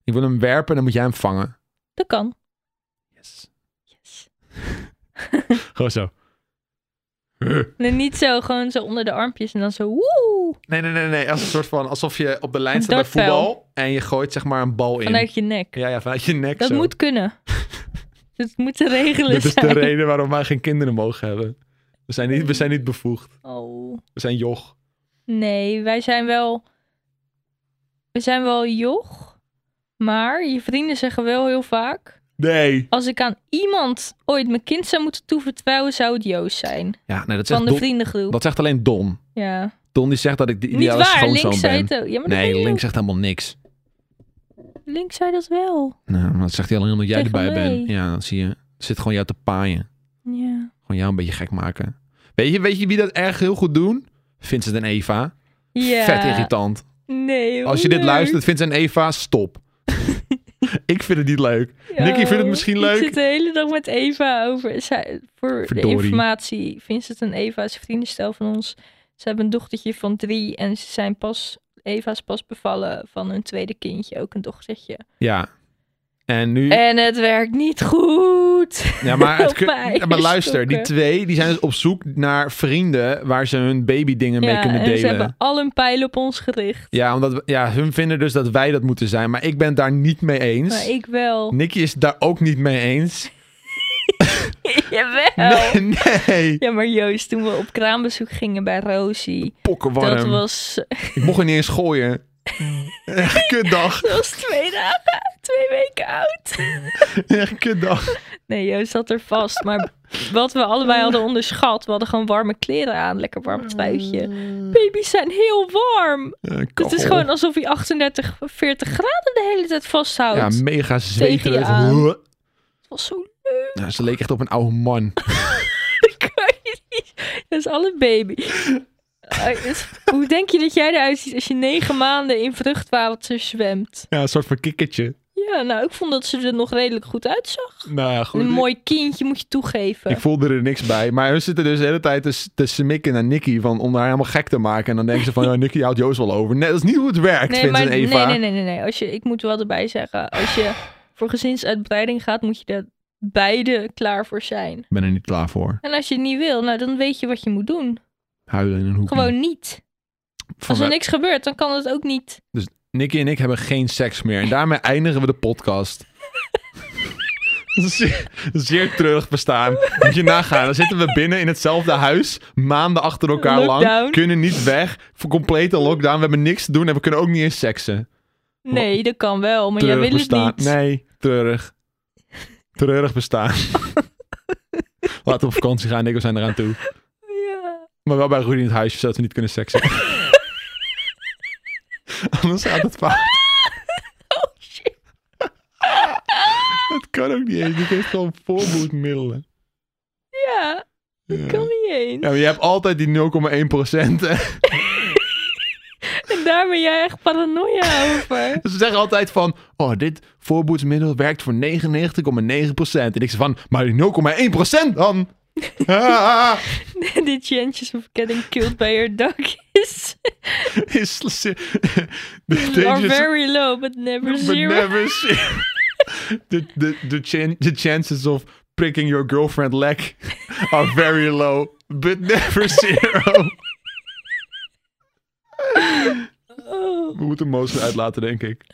Ik wil hem werpen, dan moet jij hem vangen. Dat kan. Yes. Yes. Gewoon zo. Nee, niet zo, gewoon zo onder de armpjes en dan zo woe, Nee, nee, nee, nee. Als een soort van alsof je op de lijn Een staat bij dartpijl. voetbal en je gooit zeg maar een bal in. vanuit je nek. Ja, ja, vanuit je nek. Dat zo. moet kunnen. Dat moet te regelen Dit is de zijn. reden waarom wij geen kinderen mogen hebben. We zijn niet, we zijn niet bevoegd. Oh. We zijn joch. Nee, wij zijn wel... We zijn wel joch, maar je vrienden zeggen wel heel vaak... Nee. Als ik aan iemand ooit mijn kind zou moeten toevertrouwen, zou het Joost zijn. Ja, nee, dat Van zegt, de Don, vriendengroep. dat zegt alleen Don. Ja. Don die zegt dat ik de Niet ideale waar, links eh, schoonzoon zei ben. het ook. Ja, maar Nee, dat links zegt helemaal niks. links zei dat wel. Nou, maar dat zegt hij alleen omdat jij Tegen erbij mij. bent. Ja, dan zie je. Het zit gewoon jou te paaien. Ja. Gewoon jou een beetje gek maken. Weet je, weet je wie dat erg heel goed doen? Vincent en Eva. ja. Vet irritant. Nee, hoe Als je dit leuk. luistert, Vincent en Eva, stop. ik vind het niet leuk. Nicky vindt het misschien Oh, leuk. Ik zit de hele dag met Eva over. Zij, voor Verdorie. de informatie, Vincent en Eva is een vriendenstel van ons. Ze hebben een dochtertje van drie en ze zijn pas, Eva is pas bevallen van hun tweede kindje, ook een dochtertje. Ja. En nu... En het werkt niet goed. Ja, maar, het Op kun- mijn ja, maar luister, die stokken. twee die zijn dus op zoek naar vrienden waar ze hun babydingen mee ja, kunnen en delen. ze hebben al hun pijlen op ons gericht. Ja, omdat we- ja, hun vinden dus dat wij dat moeten zijn, maar ik ben het daar niet mee eens. Maar ik wel. Nicky is het daar ook niet mee eens. Jawel. Nee, nee. Ja, maar Joost, toen we op kraambezoek gingen bij Rosie, Pokkenwarm. dat was, Ik mocht er niet eens gooien. Echt kutdag. dat was twee dagen, twee weken oud. Echt kutdag. Nee, Joost zat er vast. Maar wat we allebei hadden onderschat, we hadden gewoon warme kleren aan, lekker Mm. warm truitje. Baby's zijn heel warm. Eh, Het is kachel. gewoon alsof hij 38, 40 graden de hele tijd vasthoudt. Ja, mega zweterig. aan. Het was zo leuk. Ja, ze leek echt op een oude man. Ik kan je niet. Dat is alle baby. Ai, het- Hoe denk je dat jij eruit ziet als je negen maanden in vruchtwater zwemt? Ja, een soort van kikkertje. Ja, nou, ik vond dat ze er nog redelijk goed uitzag. Nou ja, goed. Een mooi kindje, moet je toegeven. Ik voelde er niks bij. Maar hun zitten dus de hele tijd te, te smikken naar Nicky. Van, om haar helemaal gek te maken. En dan denken ze van, ja, Nicky houdt Joost wel over. Nee, dat is niet hoe het werkt, nee, Vince maar, en Eva. Nee, nee, nee, nee, nee. Als je, ik moet wel erbij zeggen. Als je voor gezinsuitbreiding gaat, moet je er beide klaar voor zijn. Ik ben er niet klaar voor. En als je het niet wil, nou, dan weet je wat je moet doen. Huilen in een hoek. Gewoon niet. Van Als er we- niks gebeurt, dan kan het ook niet. Nicky en ik hebben geen seks meer. En daarmee eindigen we de podcast. zeer, zeer treurig bestaan. Moet je nagaan. Dan zitten we binnen in hetzelfde huis. Maanden achter elkaar lang. Lockdown. Kunnen niet weg. Voor complete lockdown. We hebben niks te doen. En we kunnen ook niet eens seksen. Nee, dat kan wel, maar jij Treurig wil het bestaan. niet. Nee, treurig. Treurig bestaan. Laten we op vakantie gaan. Nick, we zijn eraan toe. Oh, Ja. Maar wel bij Rudy in het huisje. Zodat we niet kunnen seksen. Anders gaat het fout. Oh shit. Dat kan ook niet eens. Die heeft gewoon voorboedmiddelen. Ja, Ja. kan niet eens. Ja, maar je hebt altijd die 0,1%. hè. En daar ben jij echt paranoia over. Ze zeggen altijd van, oh, dit voorboedsmiddel werkt voor 99,9%. En ik zeg van, maar die 0,1% dan? Ah, Die chances of getting killed by your dog is is ze- de are dangers- very low, but never but zero. never zero. The, the, the, chan- the chances of pricking your girlfriend leg are very low, but never zero. Oh, We moeten Moos eruit laten, denk ik.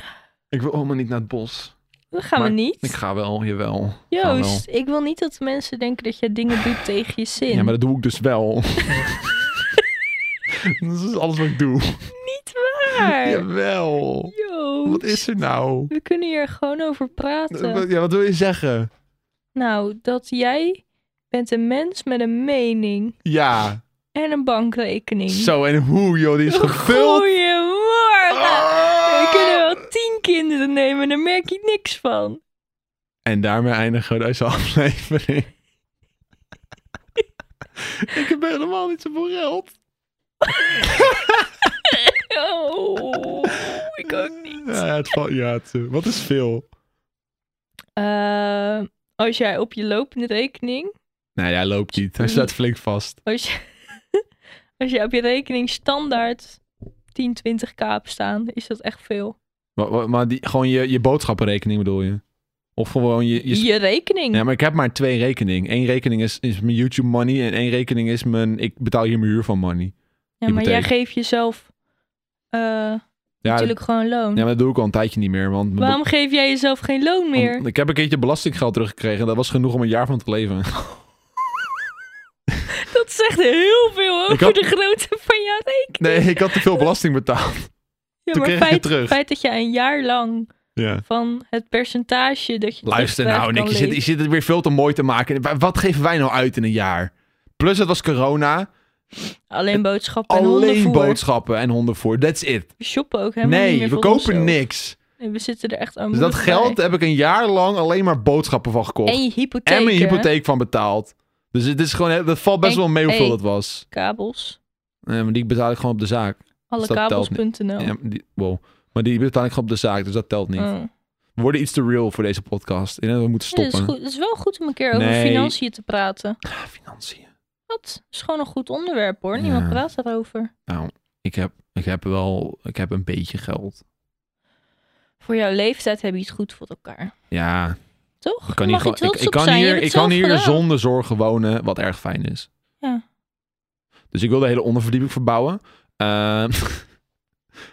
Ik wil helemaal niet naar het bos. dat gaan Maar we niet. Ik ga wel, jawel. Ik ga wel. Joost, ik wil niet dat mensen denken dat jij dingen doet tegen je zin. Ja, maar dat doe ik dus wel. dat is alles wat ik doe. Niet waar! Jawel. Joost, Wat is er nou? we kunnen hier gewoon over praten. Ja, wat wil je zeggen? Nou, dat jij bent een mens met een mening Ja. en een bankrekening. Zo, en hoe, joh, die is gevuld. Goeiemorgen! Ah! We kunnen wel tien kinderen nemen, en daar merk je niks van. En daarmee eindigen we deze aflevering. ik heb helemaal niet zoveel geld. Oh, ik ook niet. Ja, het valt, ja, het, eh, wat is veel? Eh, als jij op je lopende rekening, Nee, hij loopt niet. Hij staat flink vast. als, je, als jij op je rekening standaard 10, 20k hebt staan, is dat echt veel. Maar, maar- maar die, gewoon je, je boodschappenrekening bedoel je? Of gewoon je... je Je, rekening. Ja, maar ik heb maar twee rekeningen. Eén rekening is, is mijn YouTube money en één rekening is mijn... Ik betaal hier mijn huur van money. Ja, maar jij hypotheek. geeft jezelf eh, Ja, dat, natuurlijk gewoon loon. ja, maar dat doe ik al een tijdje niet meer. Want Waarom geef jij jezelf geen loon want- meer? ik heb een keertje belastinggeld teruggekregen. en Dat was genoeg om een jaar van te leven. Dat zegt heel veel over had- de grootte van jouw rekening. Nee, ik had te veel belasting betaald. ja, toen maar kreeg ik het feit, terug. feit dat je een jaar lang Ja. van het percentage dat je Luister terugkrijgt nou, Nick. kan Je zit, je leven. zit het weer veel te mooi te maken. Wa- Wat geven wij nou uit in een jaar? Plus het was corona. Alleen boodschappen en Alleen hondenvoer. boodschappen en hondenvoer. That's it. We shoppen ook helemaal niet Nee, meer we voor kopen onszelf. niks. Nee, we zitten er echt Dus armoedig dat geld heb ik een jaar lang alleen maar boodschappen van bij. gekocht. En je hypotheek. en mijn hè? hypotheek van betaald. Dus het is gewoon, dat valt best En- wel mee hoeveel hey. dat was. Kabels. Eh, maar die betaal ik gewoon op de zaak. Dus dat telt Allekabels.nl. Ja, die, wow. Maar die betaal ik gewoon op de zaak, dus dat telt niet. Oh. We worden iets te real voor deze podcast. En we moeten Ja, dat, stoppen. is goed. dat is wel goed om een keer over Nee. financiën te praten. Ah, financiën. Dat is gewoon een goed onderwerp hoor. Ja. Niemand praat daarover. Ik heb, ik heb wel, ik heb een beetje geld. Voor jouw leeftijd heb je het goed voor elkaar. Ja, Toch? ik kan, Mag hier, gewoon- je ik, trots ik op kan zijn. Je hier, hebt ik het kan zelf hier gedaan. zonder zorgen wonen, wat erg fijn is. Ja. Dus ik wil de hele onderverdieping verbouwen. Ehm,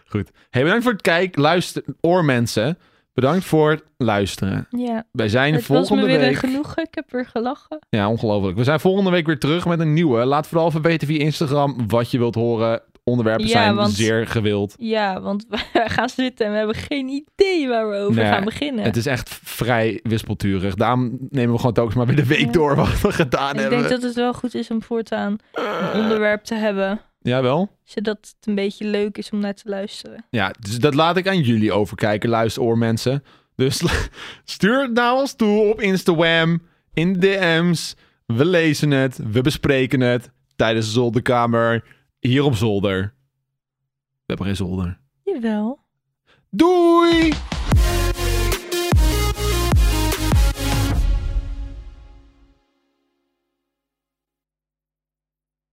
goed. Hey, bedankt voor het kijken. Luister, oormensen. Bedankt voor het luisteren. Ja, Wij zijn het was me volgende weer een week. genoegen. Ik heb er gelachen. Ja, ongelooflijk. We zijn volgende week weer terug met een nieuwe. Laat vooral even weten via Instagram wat je wilt horen. Onderwerpen Ja, zijn want- zeer gewild. Ja, want we gaan zitten en we hebben geen idee waar we over Nee, gaan beginnen. Het is echt vrij wispelturig. Daarom nemen we gewoon telkens maar weer de week Ja. door wat we gedaan Ik hebben. denk dat het wel goed is om voortaan een onderwerp te hebben. Jawel. Zodat het een beetje leuk is om naar te luisteren. Ja, dus dat laat ik aan jullie overkijken, luisteroormensen. Dus stuur het naar ons toe op Instagram, in de DM's. We lezen het, we bespreken het tijdens de zolderkamer, hier op zolder. We hebben geen zolder. Jawel. Doei!